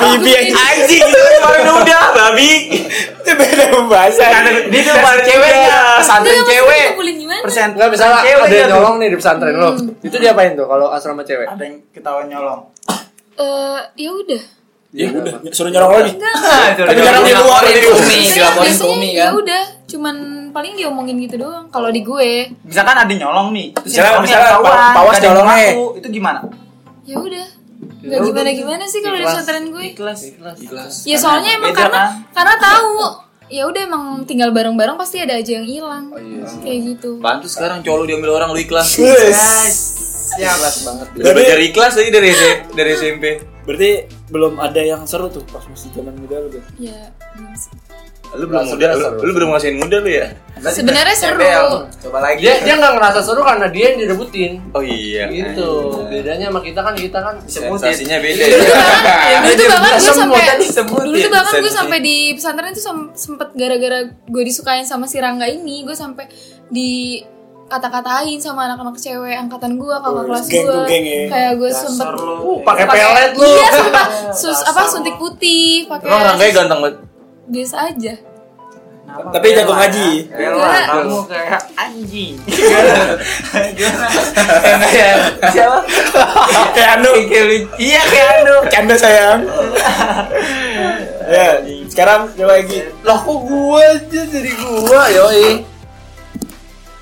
Habibi yang
*laughs* Anjing, itu kan paling udah, babi
itu beda pembahasan
Dia tuh paling ceweknya, pesantren
Iya, Maksudnya
cewek
ngumpulin gimana?
Persen,
Enggak misalnya
cewek
ada yang
gitu.
nyolong nih di pesantren lo. Itu diapain tuh kalau asrama cewek?
Ada yang ketahuan nyolong
Eh, ya udah
ya udah suruh nyolong lagi
*laughs* Tapi
jarang di luar itu
Umi, dilaporin ke Umi kan.
ya udah cuman paling diomongin gitu doang kalau di gue
Misalkan ada yang nyolong nih Terus
Misalnya-
yang
misalnya
nyolong yang
Pa-
ketahuan,
Pawas
gak ada yang
nyolong nih.
ngaku. Itu gimana?
ya udah nggak gimana gimana sih kalau di pesantren gue
Ikhlas
ya soalnya emang
Beda,
karena
kan?
karena tahu ya udah emang tinggal bareng bareng pasti ada aja yang hilang
Oh, iya.
kayak gitu
Bantu sekarang cowok lu diambil orang lu ikhlas.
Yes.
Siap
Udah belajar ikhlas aja dari S- dari SMP.
berarti belum ada yang seru tuh pas masih zaman muda lu tuh.
ya belum sih.
Lu belum muda, lu, lu belum ngasihin muda lu ya?
sebenarnya seru
Bel, Coba lagi
Dia dia nggak ngerasa seru karena dia yang direbutin.
Oh iya.
Gitu. Bedanya sama kita kan kita kan
Sensasinya beda. ya.
dulu tuh bahkan dulu tuh bahkan gue
Semua
sampai
tadi sebutin.
dulu tuh bahkan gue
Sensitif.
sampai di pesantren tuh sem- sempet gara-gara gue disukain sama si Rangga ini gue sampai di kata-katain sama anak-anak cewek angkatan gue kakak kelas
geng tuh
gue
geng ya.
kayak gue sempet
Uh, pakai pelet lu.
iya sempet sus apa suntik putih
Emang
pakai
Rangganya ganteng banget.
biasa aja
tapi jago ngaji
Bella,
Enggak.
kamu kayak anjing. Gimana? Kayak siapa?
kayak anu
Kayak lu- Iya kayak anu.
canda sayang
Iya.
ya sekarang coba lagi
Lah kok gua aja jadi gua, yoi.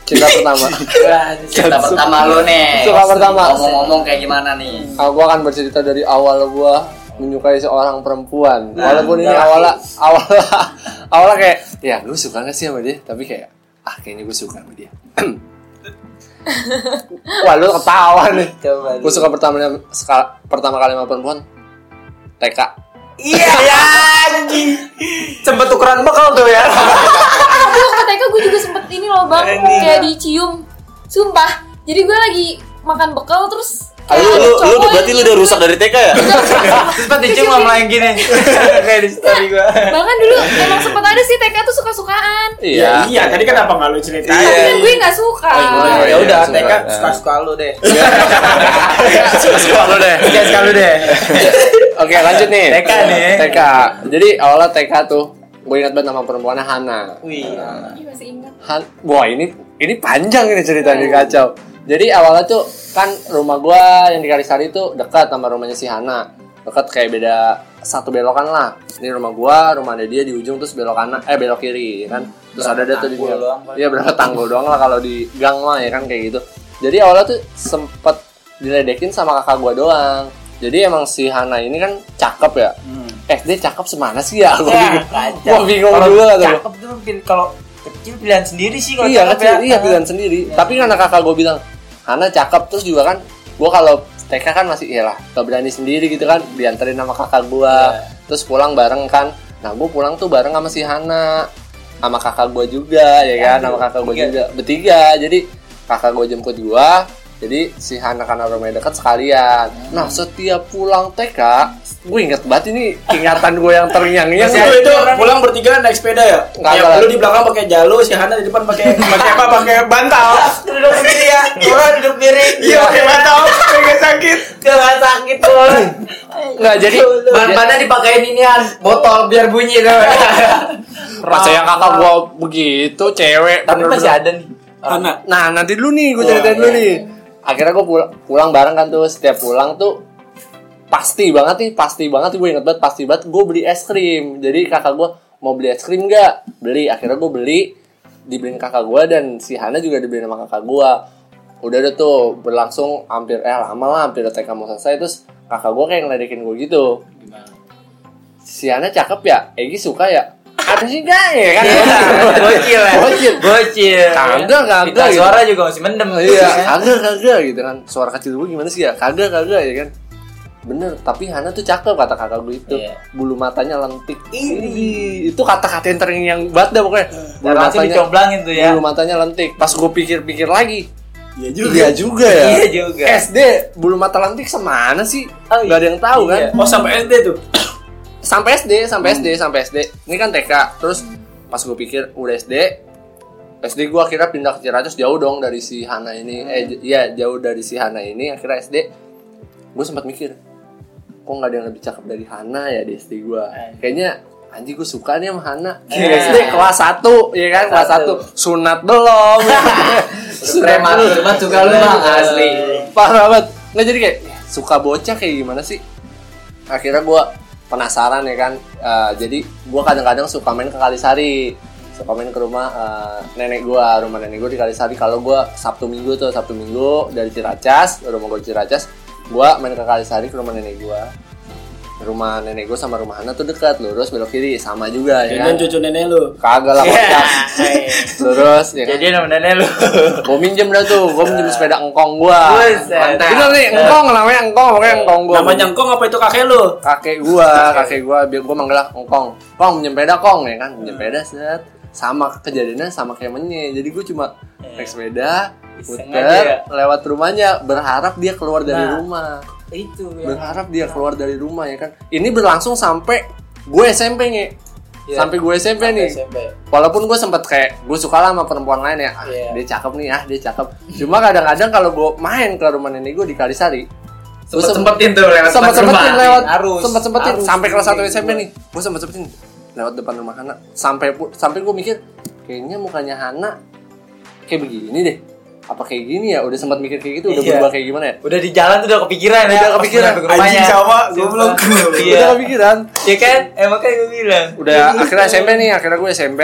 Cinta pertama.
Iya.
Cerita pertama lo nih.
Suka pertama.
Ngomong-ngomong kayak gimana nih?
Kalau gua akan bercerita dari awal gua menyukai seorang perempuan. Walaupun ini
udah.
awalnya awalnya *laughs* awalnya kayak ya lu suka gak sih sama dia? Tapi kayak ah kayaknya gue suka sama dia. *clears throat* Wah lu ketawa nih.
Coba.
Gue suka pertama sekal- pertama kali sama perempuan TK.
Iya ya, anjing. Sempet tukeran bekal tuh ya.
Tapi waktu TK gue juga sempet ini loh bang
ya.
Kayak dicium Sumpah Jadi gue lagi makan bekal terus
Lu
kayak gitu. ada
Ah, lu, lu
cowok
udah- berarti
yang
lu udah
cium
rusak
gue.
dari TK ya?
Terus pas dicium sama yang gini. *laughs* Kayak di story gua.
Bahkan dulu emang sempet ada sih TK tuh suka-sukaan
Ya
Iya.
iya tadi kenapa nggak lu ceritain
Tapi kan gue gak suka
iya.
Ya udah,
Suka.
TK suka-suka lu deh. iya,
Iya,
Sekolah lu deh.
Suka-suka Iya, lu deh.
*laughs* Oke lanjut nih.
TK nih.
TK. Jadi awalnya TK tuh gue ingat banget nama perempuannya Hana.
Wih.
Ih, masih ingat
Han, wah ini ini panjang ini ceritanya kacau. Jadi awalnya tuh kan rumah gua yang di Karisari itu dekat sama rumahnya si Hana. Dekat kayak beda satu belokan lah. Ini rumah gua, rumah ada dia di ujung terus belok kanan eh belok kiri ya kan. Terus ada dia tuh di
tanggul doang, Pak.
Iya berapa tanggul doang lah kalau di gang mah ya kan kayak gitu. Jadi awalnya tuh sempet diledekin sama kakak gua doang. Jadi emang si Hana ini kan cakep ya. SD cakep semana sih ya?
Iya,
Gua
Ya,
bingung,
kacau.
gua bingung
Kalau
dulu kata gua.
Cakep tuh pil- kalau kecil pilihan sendiri sih kalau
Iya
cakep
kecil,
ya.
iya pilihan sendiri. Tapi karena kakak gue bilang, Hana cakep terus juga kan, gue kalau TK kan masih iyalah, gak berani sendiri gitu kan, dianterin sama kakak gue, terus pulang bareng kan. Nah gue pulang tuh bareng sama si Hana, sama kakak gue juga ya kan, sama kakak gue juga bertiga. Jadi kakak gue jemput gue, jadi si Hana karena rumahnya dekat sekalian. Nah setiap pulang TK, gue inget banget ini ingatan gue yang
Nah,
terngiang-ngiang. ya.
Itu itu pulang bertiga naik sepeda ya?
Enggak,
ya,
enggak.
lu di belakang pakai jalur, si Hana di depan pakai pakai apa? Pakai bantal.
*laughs* Duduk sendiri ya. Gua duduk miring.
Iya, pakai bantal. Kayak sakit.
Gua sakit gua.
Iya. Nggak, jadi
Bahan-bahannya dipakein inian botol biar bunyi tuh.
Masa yang kakak gua begitu cewek
Tapi
bener-bener.
masih ada nih.
Hana.
Nah nanti dulu nih gue ceritain dulu
Iya,
nih Akhirnya gue pulang bareng kan tuh Setiap pulang tuh Pasti banget nih Pasti banget gue inget banget Pasti banget gue beli es krim Jadi kakak gue Mau beli es krim gak? Beli Akhirnya gue beli Dibeliin kakak gue Dan si Hana juga dibeliin sama kakak gue Udah udah tuh Berlangsung hampir Eh lama lah Hampir udah TK mau selesai Terus kakak gue kayak ngeledekin gue gitu Si Hana cakep ya? Egi suka ya? Ada sih enggak ya kan?
Bocil Iya. ya.
Bocil. Iya.
Bocil.
Kagak, kagak
Kita
gitu.
suara juga masih mendem.
iya kagak kagak gitu kan suara kecil gue gimana sih ya kagak kagak ya kan bener tapi Hana tuh cakep kata kakak gue itu
Iya.
bulu matanya lentik ini itu kata-kata yang tering yang banget dah pokoknya bulu
Lalu
matanya
dicomblangin tuh ya.
bulu matanya lentik pas gue pikir-pikir lagi
Iya
iya juga ya
Iya juga.
SD bulu mata lentik semana sih
Oh,
nggak ada yang tahu kan
Iya.
Oh, sampai SD tuh.
sampai SD sampai SD sampai SD ini kan TK terus pas gue pikir udah SD SD gue akhirnya pindah ke Ciracas jauh dong dari si Hana ini
Hmm.
eh j- iya jauh dari si Hana ini akhirnya SD gue sempat mikir kok nggak ada yang lebih cakep dari Hana ya di SD gue
Eh.
kayaknya anjing gue suka nih sama Hana Di
Eh.
SD kelas 1 ya kan kelas
Satu.
1 sunat
*laughs*
belum sunat
Prematur
belum.
banget suka lu bang asli.
parah banget nggak jadi kayak suka bocah kayak gimana sih akhirnya gue penasaran ya kan Eh, jadi gue kadang-kadang suka main ke Kalisari suka main ke rumah eh, nenek gue rumah nenek gue di Kalisari kalau gue Sabtu Minggu tuh Sabtu Minggu dari Ciracas rumah gue di Ciracas gue main ke Kalisari ke rumah nenek gue rumah nenek gue sama rumah Hana tuh dekat lurus belok kiri sama juga ya
Iya.
Dan
kan
cucu nenek lu.
kagak lah kocak. lurus ya kan
Jadi nama nenek lu.
gue minjem dah tuh gue minjem sepeda engkong gue
Buset.
bener nih engkong namanya engkong pokoknya engkong gue
Namanya engkong apa itu kakek lu?
kakek gua, kakek gua biar gua manggil lah "Oh, kong, kong menyepeda kong ya kan,
Hmm.
menyepeda set sama kejadiannya sama kayak menye. Jadi gua cuma naik sepeda,
Hmm. Iseng aja ya.
puter lewat rumahnya berharap dia keluar
Nah.
dari
Iya.
rumah.
Itu
Berharap dia keluar dari rumah ya kan. Ini berlangsung sampai gue SMP nih.
Iya.
Sampai gue SMP nih. Walaupun gue sempet kayak gue suka lah sama perempuan lain ya, ah,
Iya.
dia cakep nih ah dia cakep. Cuma kadang-kadang kalau gue main ke rumah nenek gue di Kalisari, gue
Sempet sempetin tuh lewat
sempat sempetin
rumah.
lewat
Harus.
sempat sempetin
Harus.
sampai kelas satu
Iya,
SMP
gua.
nih gue sempat sempetin lewat depan rumah Hana sampai pu- sampai gue mikir kayaknya mukanya Hana kayak begini deh apa kayak gini ya udah sempat mikir kayak gitu udah
Iya.
berubah kayak gimana ya
Udah di jalan tuh udah kepikiran ya.
Iya, Udah kepikiran.
Pas nyampe ke rumahnya.
Anjing sama, gua
Sumpah.
belum.
Iya.
udah kepikiran
Ya kan?
Eh,
Emang kan gue bilang.
udah akhirnya
kan.
SMP nih akhirnya gue SMP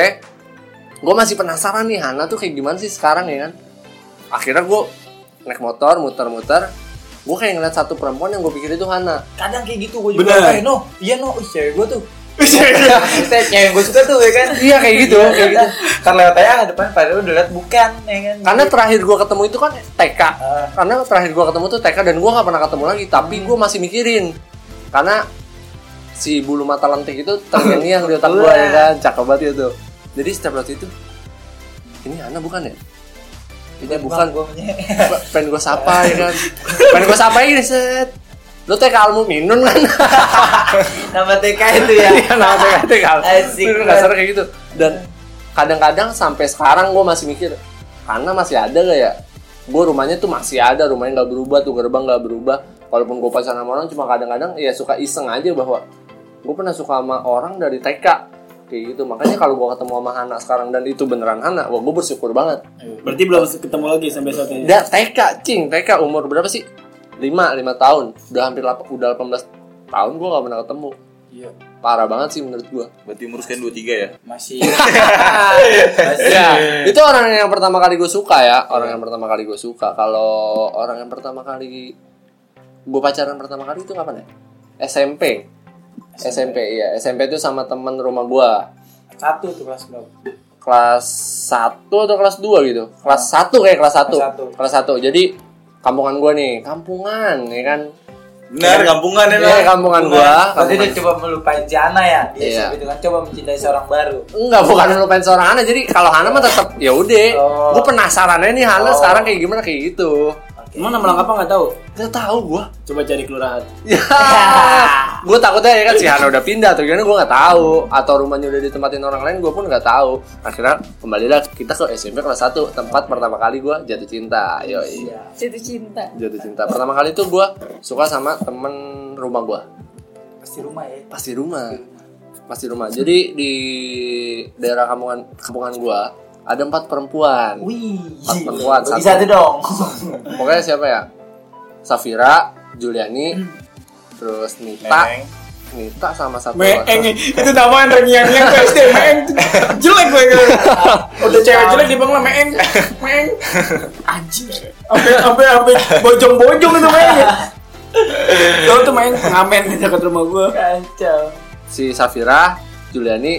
gue masih penasaran nih Hana tuh kayak gimana sih sekarang ya kan akhirnya gue naik motor muter-muter gue kayak ngeliat satu perempuan yang gue pikir itu Hana
kadang kayak gitu gue juga
Bener.
eh no iya no ih cewek gue tuh *laughs* Maksudnya cewek gue suka tuh ya kan iya.
iya kayak gitu kayak gitu
Kan
karena lewat aja nggak depan padahal udah liat bukan ya kan
Karena terakhir gua ketemu itu kan TK.
Ah,
Karena terakhir gua ketemu tuh TK dan gua nggak pernah ketemu lagi. Tapi gua masih mikirin karena si bulu mata lentik itu terngiang-ngiang di otak gua ya kan, cakep banget itu. Jadi setiap waktu itu ini Ana bukan ya? Ini bukan
gue
*laughs* Gua- pengen gue sapa ya kan pengen gue sapa ini set lu TK Almu Minun kan
nama TK itu
*laughs*
ya
*laughs* Iya, nama TK TK
Asik
Minun kasar kayak gitu dan kadang-kadang sampai sekarang gue masih mikir karena masih ada gak ya gue rumahnya tuh masih ada rumahnya nggak berubah tuh gerbang nggak berubah walaupun gue pacaran sama orang cuma kadang-kadang ya suka iseng aja bahwa gue pernah suka sama orang dari TK kayak gitu makanya kalau gue ketemu sama Hana sekarang dan itu beneran Hana wah gue bersyukur banget
Berarti belum ketemu lagi sampai saat ini.
Udah TK, cing. TK umur berapa sih? 5, 5 tahun. Udah hampir lap- udah 18 tahun gua gak pernah ketemu.
Iya.
Parah banget sih menurut gua.
Berarti umur sekian 23 ya?
masih
Iya.
Ya, itu orang yang pertama kali gue suka ya, orang yang pertama kali gue suka. Kalau orang yang pertama kali gue pacaran pertama kali itu kapan ya? SMP. SMP iya SMP itu sama temen rumah gua
Satu tuh kelas berapa?
kelas 1 atau kelas 2 gitu kelas 1 kayak kelas 1
Kelas satu.
kelas 1 jadi kampungan gua nih kampungan ya kan
Benar, kampungan ya.
Iya, kampungan gua
Berarti
kampungan.
dia coba melupain Jana ya?
Iya.
Gitu kan coba mencintai seorang baru.
Enggak, bukan melupain seorang Hana. Jadi kalau Hana mah tetap ya udah.
Oh.
Gue penasarannya nih Hana
Oh.
sekarang kayak gimana kayak gitu.
Emang nama lengkapnya nggak tahu?
Gak tahu gua.
Coba cari kelurahan.
Ya. gue takutnya ya kan si Hana udah pindah atau gimana gue nggak tahu atau rumahnya udah ditempatin orang lain gue pun nggak tahu. Akhirnya kembalilah kita ke SMP kelas 1 tempat pertama kali gua jatuh cinta. Yo
Jatuh cinta.
jatuh cinta. Pertama kali itu gua suka sama temen rumah gua
Pasti rumah ya.
Pasti rumah. Pasti rumah. Jadi di daerah kampungan kampungan gua ada empat perempuan.
Wih.
Empat perempuan,
Bagi
satu.
satu dong.
Pokoknya siapa ya? Safira, Juliani, terus Nita,
Neneng.
Nita sama satu
Meeng itu nama yang rengiang yang tuh SD Meeng jelek gue gitu. Udah cewek jelek di lah Meeng Meeng anjing sampai sampai sampai bojong bojong itu Meeng ya. Tahu tuh Meeng pengamen di dekat rumah gue. Kacau.
si Safira, Juliani,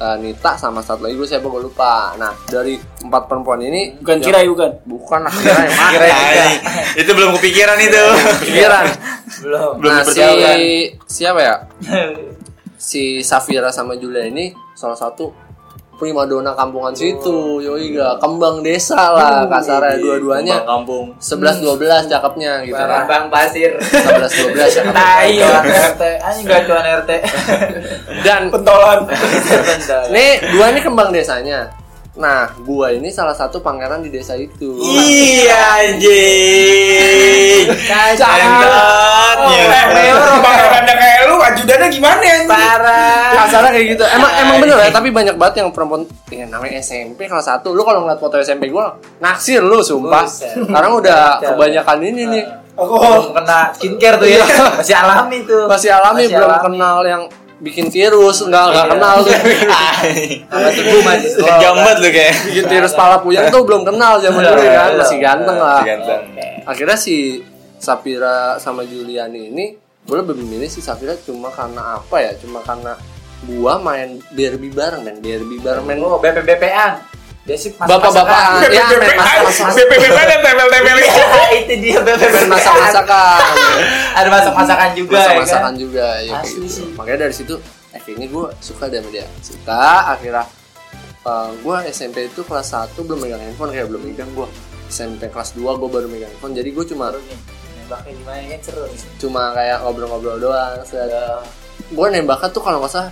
eh, Nita sama satu lagi gue siapa gue lupa. Nah dari empat perempuan ini
Bukan
yang-
kirai bukan.
bukan lah, kirai mah.
Kira itu belum kepikiran itu.
Pikiran.
Belum.
Belum
nah si
dipercayakan.
siapa ya? si Safira sama Julia ini salah satu primadona
Oh.
kampungan situ. Yoi gak kembang desa lah
iya,
kasarnya ya dua-duanya.
Kembang kampung.
11 12 cakepnya gitu kan.
Bang Pasir.
11 12 cakepnya.
*laughs* Tai ya.
RT anjing gacuan RT
Dan
Pentolan.
nih gua ini kembang desanya. Nah, gua ini salah satu pangeran di desa itu.
Iya anjing. ya. Standarnya.
Eh, Leo, pangerannya kayak lu, ajudannya gimana ya? Parah.
Kasarnya kayak gitu. Emang emang bener ya, tapi banyak banget yang perempuan ya namanya SMP kelas 1. Lu kalau ngeliat foto SMP gua naksir lu sumpah. Sekarang udah kebanyakan ini nih.
Aku
belum kena skincare tuh ya Oh. masih alami tuh
Masih alami
Masih
belum
alami.
kenal yang bikin virus, enggak enggak kenal tuh.
Alami tubuh masih slow,
Gambat lu kayak.
bikin virus pala puyeng tuh belum kenal zaman dulu kan, masih ganteng lah.
Ganteng.
akhirnya si Safira sama Juliani ini gue lebih memilih si Safira cuma karena apa ya cuma karena gua main derby bareng dan derby bareng main
oh BP BPan basic mas- *laughs*
bapak-bapakan ya main masak-masak
BPBP dan tempel-tempel
masakan. itu dia BP
main masak-masakan
ada masak masakan *laughs* juga ya kan?
masak-masakan juga ya kayak
Asli
gitu
sih.
makanya dari situ akhirnya gue suka deh sama dia suka akhirnya eh, gue SMP itu kelas 1 belum megang handphone kayak belum megang gue SMP kelas 2 gue baru megang handphone jadi gue cuma
Nembaknya gimana kan seru nih.
cuma kayak ngobrol-ngobrol doang gue nembaknya tuh kalau nggak salah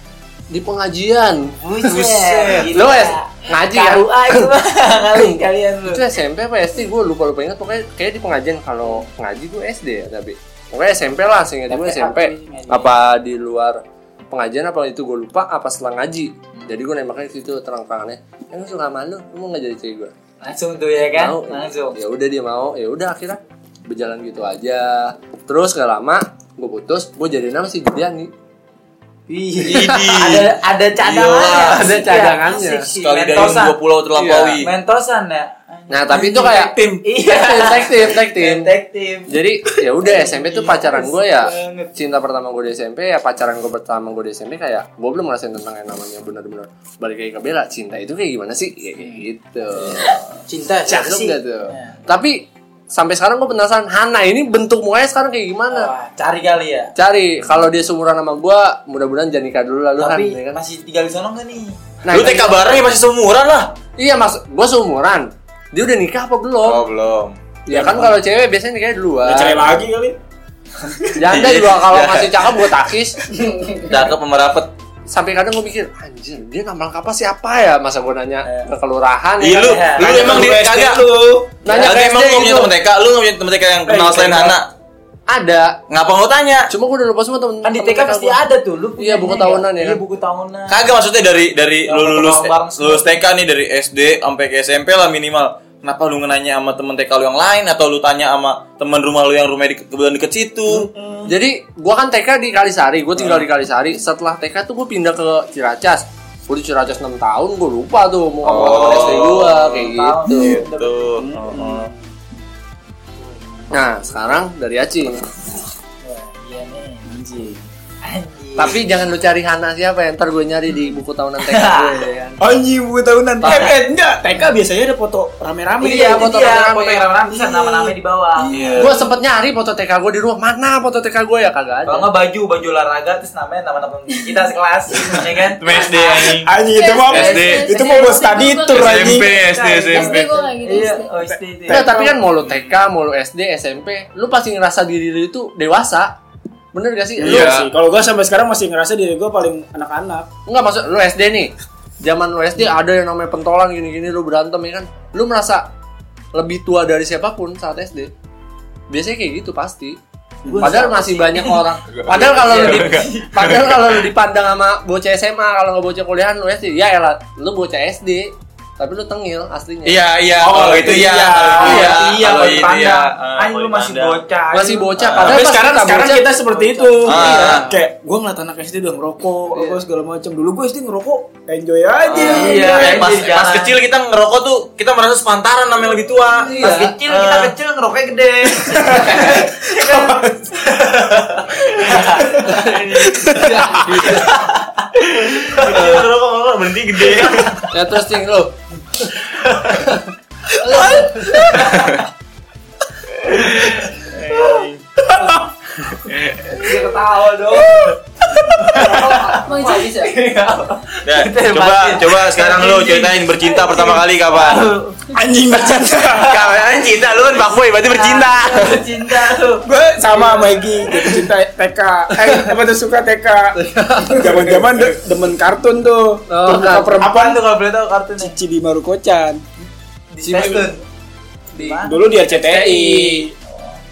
di pengajian
Buset,
lo ya ngaji ya
KUA itu mah, kali kalian lu.
itu SMP apa SD gue lupa lupa ingat pokoknya kayak di pengajian kalau ngaji gue SD ya tapi pokoknya SMP lah seingat gue SMP apa di luar pengajian apa itu gue lupa apa setelah ngaji jadi gue nembaknya di situ terang-terangannya eh gue suka sama lu lu mau nggak jadi cewek gue
Langsung tuh ya kan?
mau
Langsung.
ya udah dia mau ya udah akhirnya berjalan gitu aja terus gak lama gue putus gue jadi nama si Juliani
Wih.
Idi.
Iya. Ada ada cadangannya.
Gila,
Iya. ada
Asik ya,
cadangannya.
asik sih.
Sekali dari
Mentosan.
dua pulau terlampaui.
Iya.
Mentosan ya.
nah tapi itu kayak
tim
Iya.
detektif detektif
Detektif.
jadi ya udah
Iya,
SMP tuh pacaran gue ya cinta pertama gue di SMP ya pacaran gue pertama gue di SMP kayak gue belum ngerasain tentang yang namanya benar-benar balik lagi ke Bella cinta itu kayak gimana sih ya, kayak gitu
Cinta
cakep gak
Iya.
tuh tapi sampai sekarang gue penasaran Hana ini bentuk mukanya sekarang kayak gimana
Wah, cari kali ya.
cari kalau dia seumuran sama gue mudah-mudahan jangan nikah dulu lah lu kan,
Tapi
ya kan?
masih tinggal di sono enggak nih?
Nah,
Lu TK bareng ya masih seumuran lah.
iya mas gue seumuran dia udah nikah apa belum
Oh, belum.
ya kan kalau cewek biasanya nikahnya duluan
cerai lagi kali
Janda juga
*laughs* Ya.
kalau masih cakep gue takis
Cakep sama rapet.
sampai kadang gue pikir anjir dia nama lengkapnya siapa ya masa gue nanya ke kelurahan
Iya
ya
lu,
kan?
lu emang di kagak.
lu
nanya
Kagak
ke SD
emang lu nggak punya
gitu.
temen TK, lu nggak punya temen TK yang kenal
Eh,
selain
TK.
Hana.
ada
Ngapa lu tanya?
cuma gue udah lupa semua temen
Kan di
temen
TK pasti
gua.
ada tuh. Lu
Iya, buku
punya
tahunan
nggak?
ya
Iya,
kan?
buku tahunan.
Kagak maksudnya dari dari
Yang
lu
ketemu
lulus
bareng semua.
lulus TK nih dari SD sampai ke SMP lah minimal. Kenapa lu nanya sama temen TK lu yang lain atau lu tanya sama temen rumah lu yang rumahnya di, kebetulan deket situ?
jadi gue kan TK di Kalisari gue tinggal
Ah.
di Kalisari setelah TK tuh gue pindah ke Ciracas gue di Ciracas 6 tahun gue lupa tuh muka
Oh.
muka temen SD gue kayak gitu
Gitu. Heeh.
nah sekarang dari Acing
Iya nih. iya Anjing. Anjing.
Tapi jangan lu cari Hana siapa ya, ntar gue nyari di buku tahunan TK
*laughs*
gue ya kan.
Anjing buku tahunan. Eh, eh, enggak, TK biasanya ada foto rame-rame.
Iya,
Gitu.
foto
rame-rame. Iya.
foto yang rame-rame bisa nama-nama di bawah.
Iya.
Gue sempet nyari foto TK gue di rumah, mana foto TK gue ya kagak
Kalau
ada.
nggak baju, baju olahraga terus namanya nama-nama kita sekelas, *laughs* ya kan?
SD
Iya.
anjing.
Ah, Anjing itu mau
SD.
itu mau buat study tour anjing. Nah,
SMP, SD, SMP.
gitu, SD gue kayak gitu
Iya,
SD.
oh SD itu.
Nah, tapi kan mau lu TK, mau lu SD, SMP, lu pasti ngerasa diri lu itu dewasa. Bener gak sih? Lu
Iya.
Sih, Kalau gua sampai sekarang masih ngerasa diri gua paling anak-anak.
Enggak maksud lu SD nih. Zaman lu SD
Hmm.
ada yang namanya pentolan gini-gini lu berantem ya kan. Lu merasa lebih tua dari siapapun saat SD. Biasanya kayak gitu pasti. Padahal masih
*laughs*
banyak orang. Padahal kalau lu
Iya,
di- padahal kalau lu dipandang sama bocah SMA, kalau nggak bocah kuliahan lu SD, ya elah, lu bocah SD. Tapi lu tengil aslinya.
Iya, iya.
Oh,
Kalau
itu
itu iya.
iya.
Kalau
Oh,
Iya,
iya,
kalau
kalau
itu iya.
dipandang.
Ah,
Anjing
kalau
lu masih
dipandang.
Iya,
bocah.
Masih bocah,
Ah.
padahal
Tapi
pas
sekarang
kita
sekarang
bocah-
kita seperti itu.
Ah.
Iya. Kayak gua ngeliat anak SD udah ngerokok, apa segala macam. Dulu gua SD ngerokok, enjoy
Iya,
aja.
Eh, pas,
jadi
pas
jangan.
kecil kita ngerokok tuh kita merasa sepantaran sama yang lebih tua.
Pas kecil kita
Eh.
kecil ngerokoknya gede.
Kecil ngerokok ngerokok berhenti gede.
Ya terus ting lu.
Dia ketawa dong.
Mau izin?
Nah, coba coba sekarang lu ceritain bercinta pertama kali kapan?
Anjing bercanda.
Kapan cinta lu kan fuckboy berarti bercinta.
Cinta lu.
gue sama Maggie jadi cinta TK eh apa tuh suka TK zaman zaman demen kartun tuh
Oh,
*laughs* terbuka
kartun.
perempuan
Apaan tuh kalau boleh tahu kartunnya?
Cici di Marukocan
Di Stasiun.
dulu di RCTI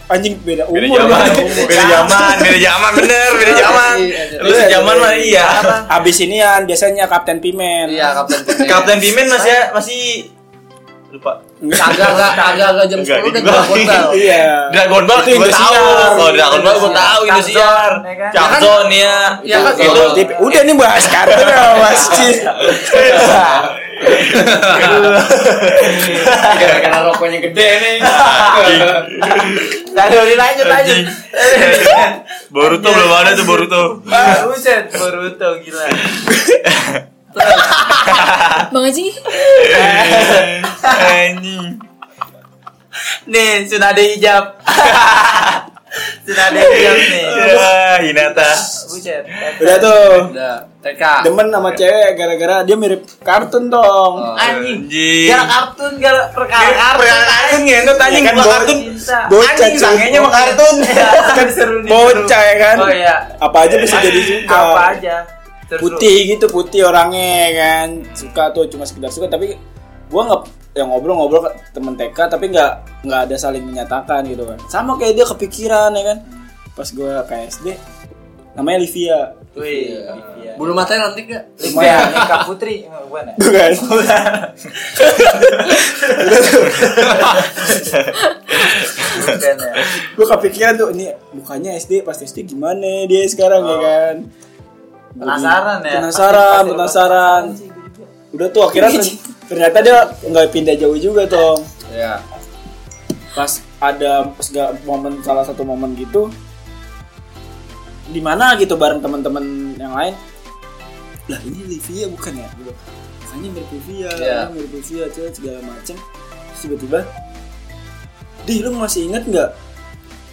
anjing beda umur
Beda
*laughs*
zaman, beda zaman, beda zaman bener, beda zaman. Lu sejaman mah iya.
abis inian biasanya Kapten Pimen
Iya, kapten.
Kapten Pimen masih masih lupa.
Kagak kagak kagak kagak jam
Enggak,
10 udah
enggak.
gua hotel.
iya
Dragon Ball
Itu
gue
Indosiar.
tahu. Oh, Dragon Ball gue tahu itu sih.
Capzor, ya kan?
Capzon ya.
Iya kan?
Itu
Tip- udah nih bahas kartun ya mas Ci
Karena rokoknya gede nih.
Tadi lanjut lanjut.
Boruto belum ada tuh Boruto.
Ah, Buset, Boruto gila.
Bang Haji,
Anjing.
Nih, sudah ada hijab. *laughs* sudah ada hijab nih.
Iya. Wah, Hinata.
Buset.
Iya. udah tuh
Udah, TK.
demen sama cewek gara-gara dia mirip kartun dong
Anjing.
Oh, Anjing.
Iya.
Gara Iya, kartun, gara perkara
Perkara kartun ngentot anjing
Ya iya, kan,
gua
Bo-
kartun.
Cinta.
bocah
Anjing,
cuy.
sangenya sama
*laughs*
kartun.
Iya, seru nih,
bocah
seru.
Kan ya kan
Oh iya.
apa aja bisa jadi juga
Apa aja. Seru.
putih gitu putih orangnya kan suka tuh cuma sekedar suka tapi gua nggak ya ngobrol-ngobrol ke temen TK tapi nggak nggak ada saling menyatakan gitu kan sama kayak dia kepikiran ya kan pas gua ke SD namanya Livia
Wih.
Bulu matanya nanti enggak?
Lumayan, *laughs* Kak Putri. Eh, bukan ya?
bukan
Bukan ya?
gua kepikiran tuh ini mukanya SD pas SD gimana dia sekarang ya kan Gua
Oh. Penasaran ya?
penasaran
Pasti- pasti-
penasaran udah tuh
*laughs*
akhirnya ter- ternyata dia nggak pindah jauh juga tuh
Iya.
pas ada segala momen salah satu momen gitu di mana gitu bareng teman-teman yang lain lah ini Livia bukan ya gitu makanya mirip Livia
Iya.
ini mirip Livia cewek segala macem Terus tiba-tiba di lu masih inget nggak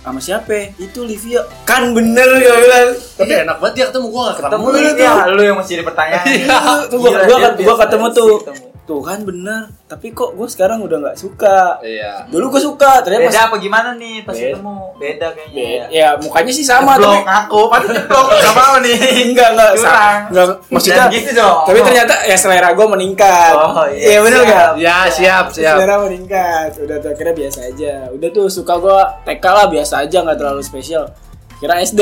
sama siapa itu Livia kan bener ya bilang
Tapi Iya, enak banget dia ketemu gua enggak ketemu.
Ketemu lu ya, lu yang masih
*laughs*
dipertanyakan.
Iya, tuh gua,
Gila,
gua,
dia
gua
biasa
ketemu
sih
tuh
ketemu.
tuh kan bener tapi kok gue sekarang udah nggak suka
Iya.
dulu gue suka ternyata
Beda
pas
apa gimana nih pas
Beda.
ketemu? Beda kayaknya. ya.
ya mukanya sih sama tapi
Blok aku, pasti blok gak mau
*laughs*
nih.
enggak enggak
Curang.
sa- enggak maksudnya
Jangan gitu dong.
tapi ternyata ya selera gue meningkat
Oh, iya.
Iya, bener nggak?
Siap.
Ya, siap, siap.
selera meningkat udah tuh akhirnya biasa aja udah tuh suka gue TK lah biasa aja nggak terlalu spesial kira SD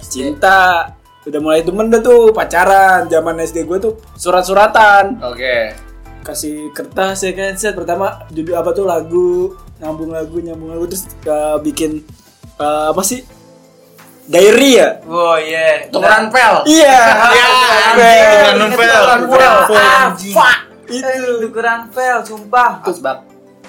cinta udah mulai demen dah tuh pacaran zaman SD gue tuh surat-suratan
Oke.
kasih kertas ya kan set pertama judul apa tuh lagu nyambung lagu nyambung lagu terus eh, bikin eh, apa sih diary ya
Oh iya.
Tukeran pel.
iya
Tukeran
Ben.
novel.
Tukeran
Tukeran
pel.
pel.
Ah, fuck.
Itu.
Eh,
Iya.
Tukeran pel, sumpah.
Asbak.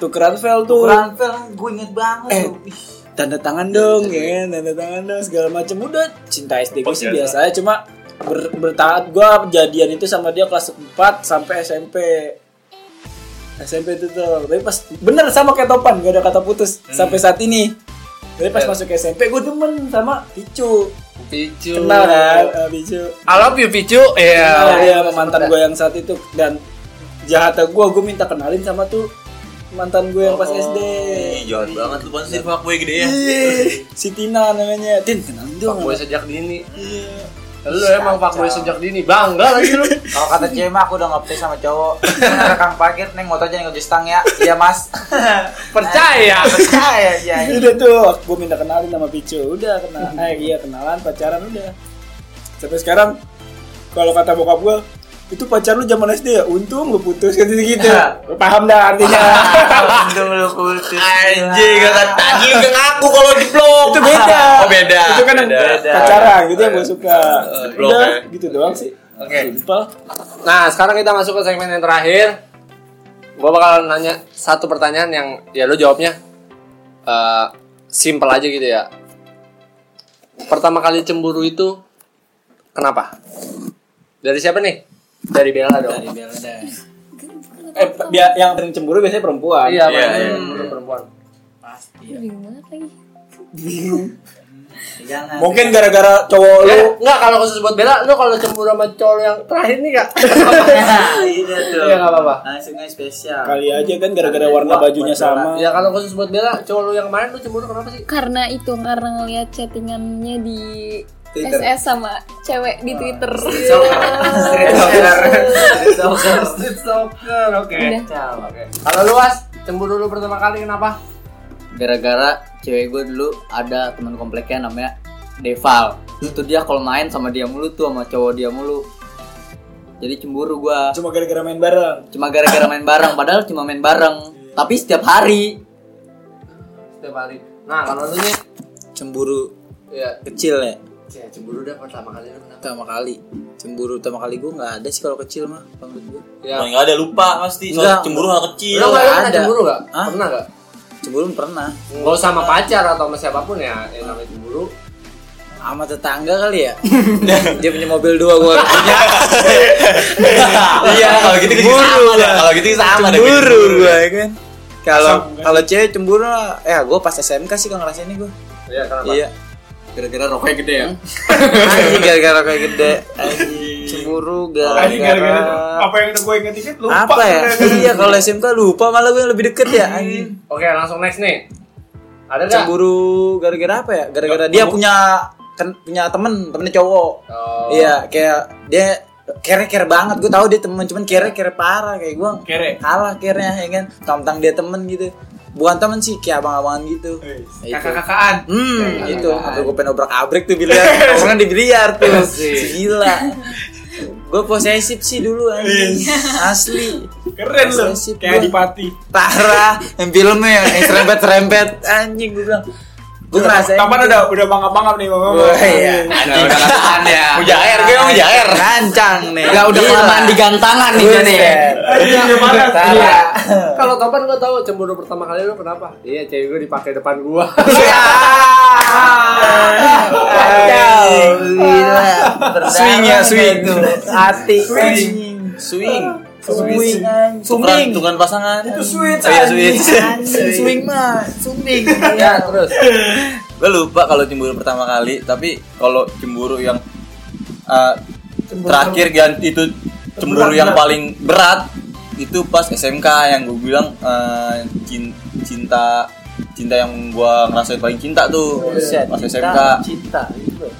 tukeran file tuh
Tukeran pel, gue inget banget
Eh.
tuh. Ih,
tanda tangan dong ya kan, tanda tangan dong segala macam udah cinta SD gue sih biasa aja cuma ber, bertahap gue jadian itu sama dia kelas 4 sampai SMP SMP itu tuh tapi pas bener sama kayak Topan gak ada kata putus sampai saat ini tapi pas masuk SMP gue demen sama Picu
Picu.
kenal kan eh, Picu
I love you Picu.
Nah,
Iya.
dia sama mantan gue yang saat itu dan jahatnya gue gue minta kenalin sama tuh mantan gue yang
Oh,
pas SD
Ih,
iya.
jahat banget lu pasti fuckboy gede ya.
Ih, si Tina namanya Tin kenalin dong
Gue sejak dini.
Iya.
Lu emang pak gue sejak dini. Bangga lagi lu.
Kalau kata cewek mah aku udah ngopi sama cowok. Rekang parkir neng motor aja neng kunci stang ya. Iya mas.
Percaya.
Percaya ya.
udah tuh gue minta kenalin sama Picu udah
*laughs*
kenal eh iya kenalan pacaran udah sampai sekarang kalau kata bokap gue itu pacar lu zaman SD ya untung lu putus gitu
*laughs*
gitu paham dah artinya
Untung lu putus.
Anjing, gak kan tadi lu gak ngaku kalau di vlog.
itu beda
Oh, beda.
itu kan yang
Beda.
pacaran gitu yang gue suka
blok,
udah
ya.
gitu doang sih
Oke.
simpel
Nah, sekarang kita masuk ke segmen yang terakhir. Gue bakal nanya satu pertanyaan yang ya lu jawabnya eh simple aja gitu ya. Pertama kali cemburu itu kenapa? Dari siapa nih? Dari Bella dong. Dari Bella.
eh bia- yang paling cemburu biasanya perempuan
Iya,
Iya,
Bella,
iya.
cemburu perempuan.
Bingung banget lagi.
Jangan.
mungkin gara-gara cowok lu
Eh, enggak kalau khusus buat Bella, lu kalau cemburu sama cowok lu yang terakhir nih kak.
*laughs* Iya tuh.
*laughs* Iya, nggak apa-apa.
Langsung aja spesial.
kali aja kan gara-gara warna bajunya
*laughs*
sama
ya kalau khusus buat Bella, cowok lu yang kemarin lu cemburu kenapa sih?
Karena itu karena ngelihat chattingannya di
Twitter.
SS sama cewek di Twitter.
Street
Iya. *laughs*
soccer. Street
Iya.
soccer.
Soccer, oke.
Udah.
Kalau luas, cemburu lu pertama kali kenapa?
gara-gara cewek gue dulu ada teman kompleknya namanya Deval itu dia kalau main sama dia mulu tuh sama cowok dia mulu jadi cemburu gua
cuma gara-gara main bareng
cuma gara-gara main bareng padahal cuma main bareng tapi setiap hari
Setiap hari. Nah, kalau lu nih,
Cemburu
ya,
kecil ya.
ya cemburu dah pertama kali lu kenapa?
Pertama kali. Cemburu pertama kali gue nggak ada sih kalau kecil mah. kalau menurut gua.
Ya.
Nah, nggak ada lupa pasti. Soalnya
Enggak.
cemburu anak kecil.
Lu nggak lu pernah
Iya, ada.
cemburu nggak?
Hah?
Pernah nggak?
Cemburu pernah.
Nggak usah sama pacar atau sama siapapun ya, yang namanya cemburu.
Sama tetangga
*laughs*
kali ya. Dia punya mobil dua gue punya.
Iya, kalau gitu kita sama dah. Kalau gitu kita sama dah.
cemburu gue kan kalau
Sama, kan?
kalau cewek cemburu lah, eh gue pas SMK sih kalau ngerasainnya gue
Iya, kenapa?
iya
gara-gara rokoknya gede ya
*laughs* anjing gara-gara kayak gede anjing cemburu
Anjing, gara-gara
gara-gara
apa yang udah gue inget inget lupa
apa ya iya kalau SMK lupa malah gue yang lebih deket ya anjing
Oke, langsung next nih. Ada nggak?
cemburu gara-gara apa ya gara-gara dia punya ken- punya temen temennya cowok
Oh.
iya kayak dia kere kere banget gue tahu dia temen cuman kere kere parah kayak gue
kere
kalah akhirnya ya kan tentang dia temen gitu bukan temen sih kayak abang-abangan gitu Nah, itu.
kakak-kakaan
Hmm, itu apa gue pengen obrak abrik tuh
*laughs*
biliar, orang di biliar tuh,
Iya
segila. Gue posesif sih dulu anjing,
Iya.
asli
keren loh
Posesif
kayak
gua.
adipati
parah. Yang filmnya yang serempet serempet anjing gue bilang. Gue ngerasain.
Taman udah udah mangap mangap nih mama.
Gua, iya.
Anjing, perasaan ya
Mujair, gue mau
Nah, Er.
mujair.
Rancang nih.
Gak udah
Gila.
kelamaan Iya, di gantangan nih
Iya, Buset.
Joni
Iya, iya, panas.
Parah.
Kalau topan gue tahu cemburu pertama kali lu kenapa? Iya, cewek gue dipakai depan gua.
Ya.
Kacau.
Gila.
Swing ya, swing.
Hati.
Swing.
Swing.
Swing.
Tukeran, tukeran pasangan.
Itu switch.
Iya,
anjing.
switch.
Swing mah, swing.
ya, terus.
Gue lupa kalau cemburu pertama kali, tapi kalau cemburu yang eh, terakhir kan itu cemburu yang paling berat itu pas SMK yang gue bilang eh, cin- cinta cinta yang gue ngerasain paling cinta tuh pas SMK
Cinta.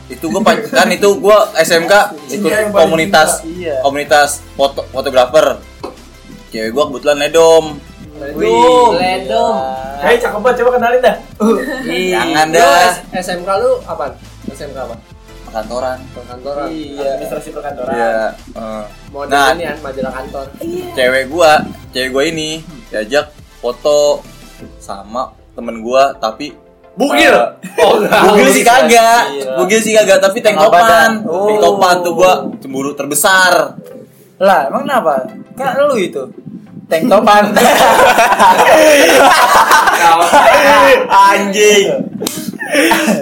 itu gue kan itu gue SMK ikut
yang paling
komunitas
cinta, iya.
komunitas foto fotografer cewek gue kebetulan ledom
Wih,
Hei, cakep banget coba kenalin dah.
Oh,
jangan
Lu
dah
S- SMK lu apa? SMK apa?
kantoran
Perkantoran.
Iya.
Administrasi perkantoran.
Iya. eh.
Model
Nah,
ini kan majalah kantor.
cewek gua, cewek gua ini diajak foto sama temen gua tapi bugil. *laughs* oh, bugil sih iya. kagak. Bugil sih kagak tapi tank
Tengah badan.
topan.
Oh.
Tank topan tuh gua cemburu terbesar.
Lah, emang kenapa? Kan lu itu. tank topan
*laughs*
Anjing.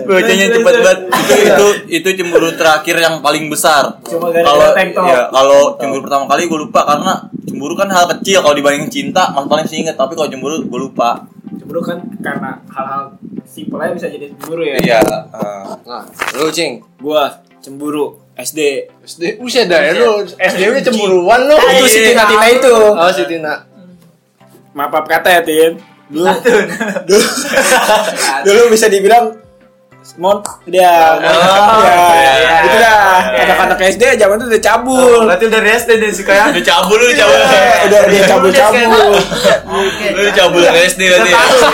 Bocahnya cepat banget. Itu itu itu cemburu terakhir yang paling besar.
*laughs* Cuma gara-gara
Kalau
tank top.
ya, kalau cemburu pertama kali gue lupa karena cemburu kan hal kecil kalau dibandingin cinta mas paling sih inget tapi kalau cemburu gue lupa.
Cemburu kan karena hal-hal simple aja bisa jadi cemburu ya.
Iya. eh,
Nah, lu cing.
Gua cemburu SD.
SD, usia dah lu. SD udah cemburuan lu.
itu si Tina Tina itu
Oh, si Tina.
Maaf maaf kata ya Tin.
Dulu dulu, dulu bisa dibilang Mon, dia,
Oh, iya,
*laughs* ya, gitu dah. Anak-anak SD zaman itu udah cabul,
berarti dari SD dia suka ya
Udah cabul lu cabul.
*laughs*
iya.
udah dia cabul-cabul.
Lu cabul dari SD berarti.
Iya.
ya?
Tahu, ya kan?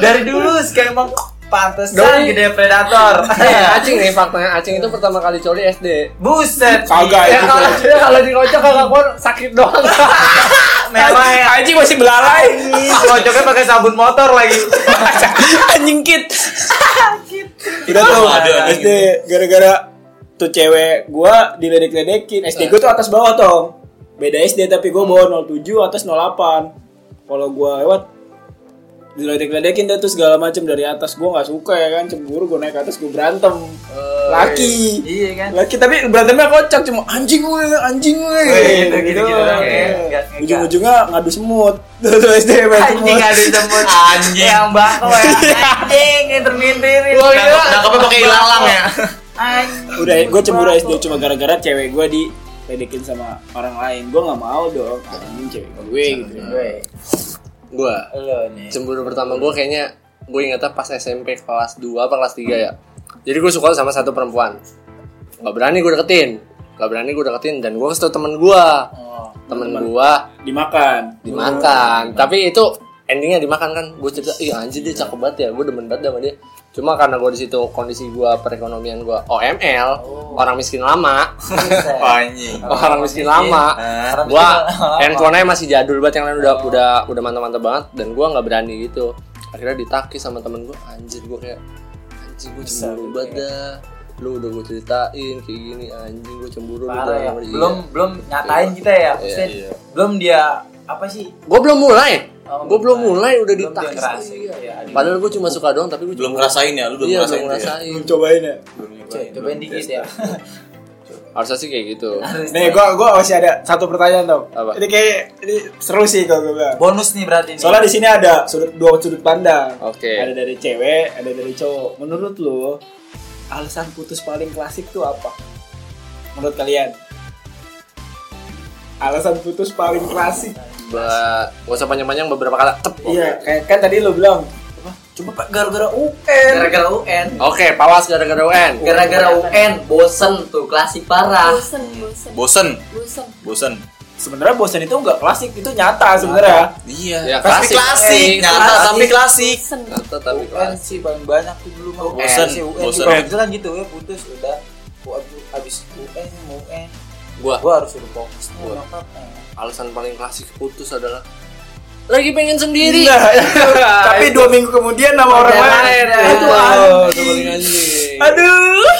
dari dulu kayak emang pantesan
Doi.
gede predator
Nah, Acing nih faktanya Acing itu pertama kali coli SD.
buset
Kagak
Ya
itu.
kalau ya kalau dikocok kagak keluar sakit doang.
merah ya
Anjing masih belalai.
kocoknya pakai sabun motor lagi
*laughs* Anjing kit. Udah tuh
Ada, ada.
SD gara-gara tuh cewek gua diledek-ledekin. SD gua tuh atas bawah tong. Beda SD tapi gua bawa 07 atas 08. Kalau gua lewat diledek-ledekin dah tuh segala macam dari atas gua nggak suka ya kan cemburu gua naik ke atas gua berantem laki
iya kan
laki tapi berantemnya kocak cuma anjing gue anjing gue
gitu gitu gitu doang ya. Nggak- nggak-
ujung-ujungnya ngadu semut *laughs* Tuh, tuh SD main
anjing
semut.
ada semut anjing yang bako ya anjing yang termintirin
Nangkapnya pakai ilalang ya.
anjing
*laughs* udah gue cemburu SD cuma gara-gara cewek gue di ledekin sama orang lain gue nggak mau dong anjing cewek gue gitu
gua
eh. lo nih
cemburu pertama gua kayaknya gue ingetnya pas SMP kelas 2 apa kelas 3 ya. Jadi gue suka sama satu perempuan. Gak berani gue deketin. Gak berani gue deketin dan gue kasih tau temen gua temen gua
dimakan
dimakan. Tapi itu endingnya dimakan kan. Gue cerita, ih anjir dia cakep banget ya. Gue demen banget sama dia. Cuma karena gue di situ kondisi gua perekonomian gua OML, orang miskin lama,
Anjing.
orang miskin lama.
Orang
Gua
miskin lama.
handphonenya masih jadul banget yang lain udah udah udah mantap-mantap banget dan gua nggak berani gitu. Akhirnya ditaki sama temen gua, anjir gua kayak anjing gua cemburu banget dah. Lu udah gua ceritain kayak gini anjing gua cemburu lu
Parah ya.
jangan- iya.
belum belum nyatain kita ya maksudnya
iya.
belum dia apa sih
Gua belum mulai.
Oh,
gua belum mulai udah
belum dia
ditaki. Iya.
ngerasa gitu ya aduh.
Padahal gua cuma suka doang tapi gua
Belum ngerasain ya, lu belum
Iya,
ngerasain.
belum
itu ya?
ngerasain.
Lu cobain ya
Coy, cobain dikit *laughs* ya
Harusnya sih kayak gitu.
nih gue gue masih ada satu pertanyaan tau
Apa?
ini kayak ini seru sih kalau gue bilang
bonus nih berarti nih.
soalnya di sini ada sudut dua sudut pandang
Oke.
ada dari cewek ada dari cowok menurut lo alasan putus paling klasik tuh apa menurut kalian alasan putus paling klasik
Ba- Gak usah panjang-panjang beberapa kali. Tep.
Iya, kayak kan tadi lo bilang apa? Cuma Pak, gara-gara UN.
Gara-gara UN.
Oke, pawas gara-gara UN.
Gara-gara UN bosen tuh klasik parah.
bosen bosen
Bosen,
bosen
bosen.
Sebenarnya bosan itu nggak klasik, itu nyata sebenarnya.
Ya,
Iya.
klasik.
Tapi klasik,
Eh,
nyata tapi klasik.
bosen
Ternyata tapi
UN
kelas.
sih paling banyak tuh dulu mah UN
Bosen,
sih UN
bosen.
juga. itu kan gitu ya putus udah Gua ab- abis UN mau UN
Gua
gua harus suruh fokus nih nyokap
alasan paling klasik putus adalah lagi pengen sendiri. *laughs*
Tapi dua minggu kemudian nama orang lain.
Iya,
Itu anjing. Aduh.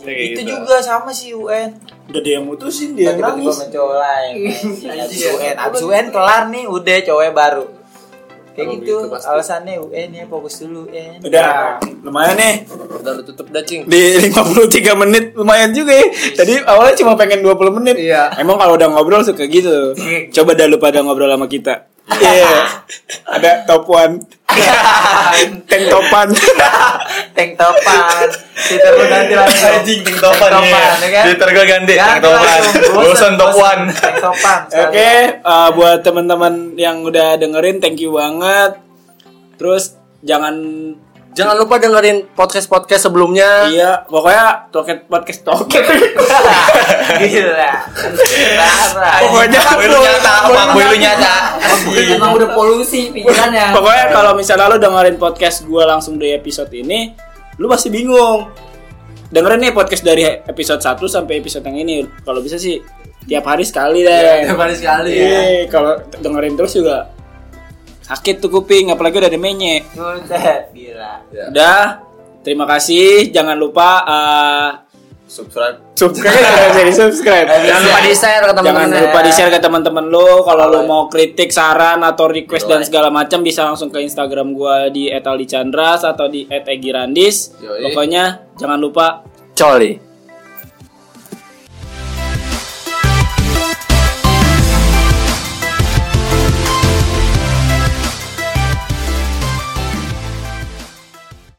gitu.
itu juga sama sih UN
Udah dia yang mutusin, dia yang
tiba-tiba
Iya, nangis.
mencoba lain abis UN abis UN kelar nih udah cowoknya baru kayak
Kalau
gitu
gitu pasti.
alasannya UN ya fokus dulu UN
Udah, lumayan nih.
Udah lu tutup dah, Cing.
Di *laughs* 53 menit lumayan juga ya. Tadi awalnya cuma pengen 20 menit.
Iya.
Emang kalau udah ngobrol suka gitu. Coba dah lu pada ngobrol sama kita. Iya. Ada topuan. Tank topan.
tank topan Twitter lu nanti langsung
Anjing tank topan
Tank
ya.
iya. ya kan?
Twitter gue ganti tank
Ganti
topan.
langsung.
Bosen top
bosen.
one.
Tank topan
Oke, eh, buat teman-teman yang udah dengerin, thank you banget. Terus jangan
Jangan lupa dengerin podcast-podcast sebelumnya.
iya, pokoknya toket podcast toket.
Gila. Parah.
Pokoknya
Boy lu nyata, Bang. Boy lu nyata.
Emang udah polusi pikirannya.
pokoknya kalau misalnya lu dengerin podcast gue langsung dari episode ini, lu pasti bingung. Dengerin nih podcast dari episode 1 sampai episode yang ini. Kalau bisa sih tiap hari sekali deh.
Kembali sekali
Iya, kalau dengerin terus juga sakit tuh kuping, apalagi udah ada menye.
Buset, Gila.
Udah, terima kasih. Jangan lupa eh,
subscribe
subscribe *laughs* jadi subscribe ya.
Jangan lupa di share ke teman-teman.
jangan lupa di share ke teman-teman lo kalau lo mau kritik saran atau request dan segala macam bisa langsung ke instagram gua di @aldicandras atau di @egirandis
Yoi.
pokoknya jangan lupa
Coli.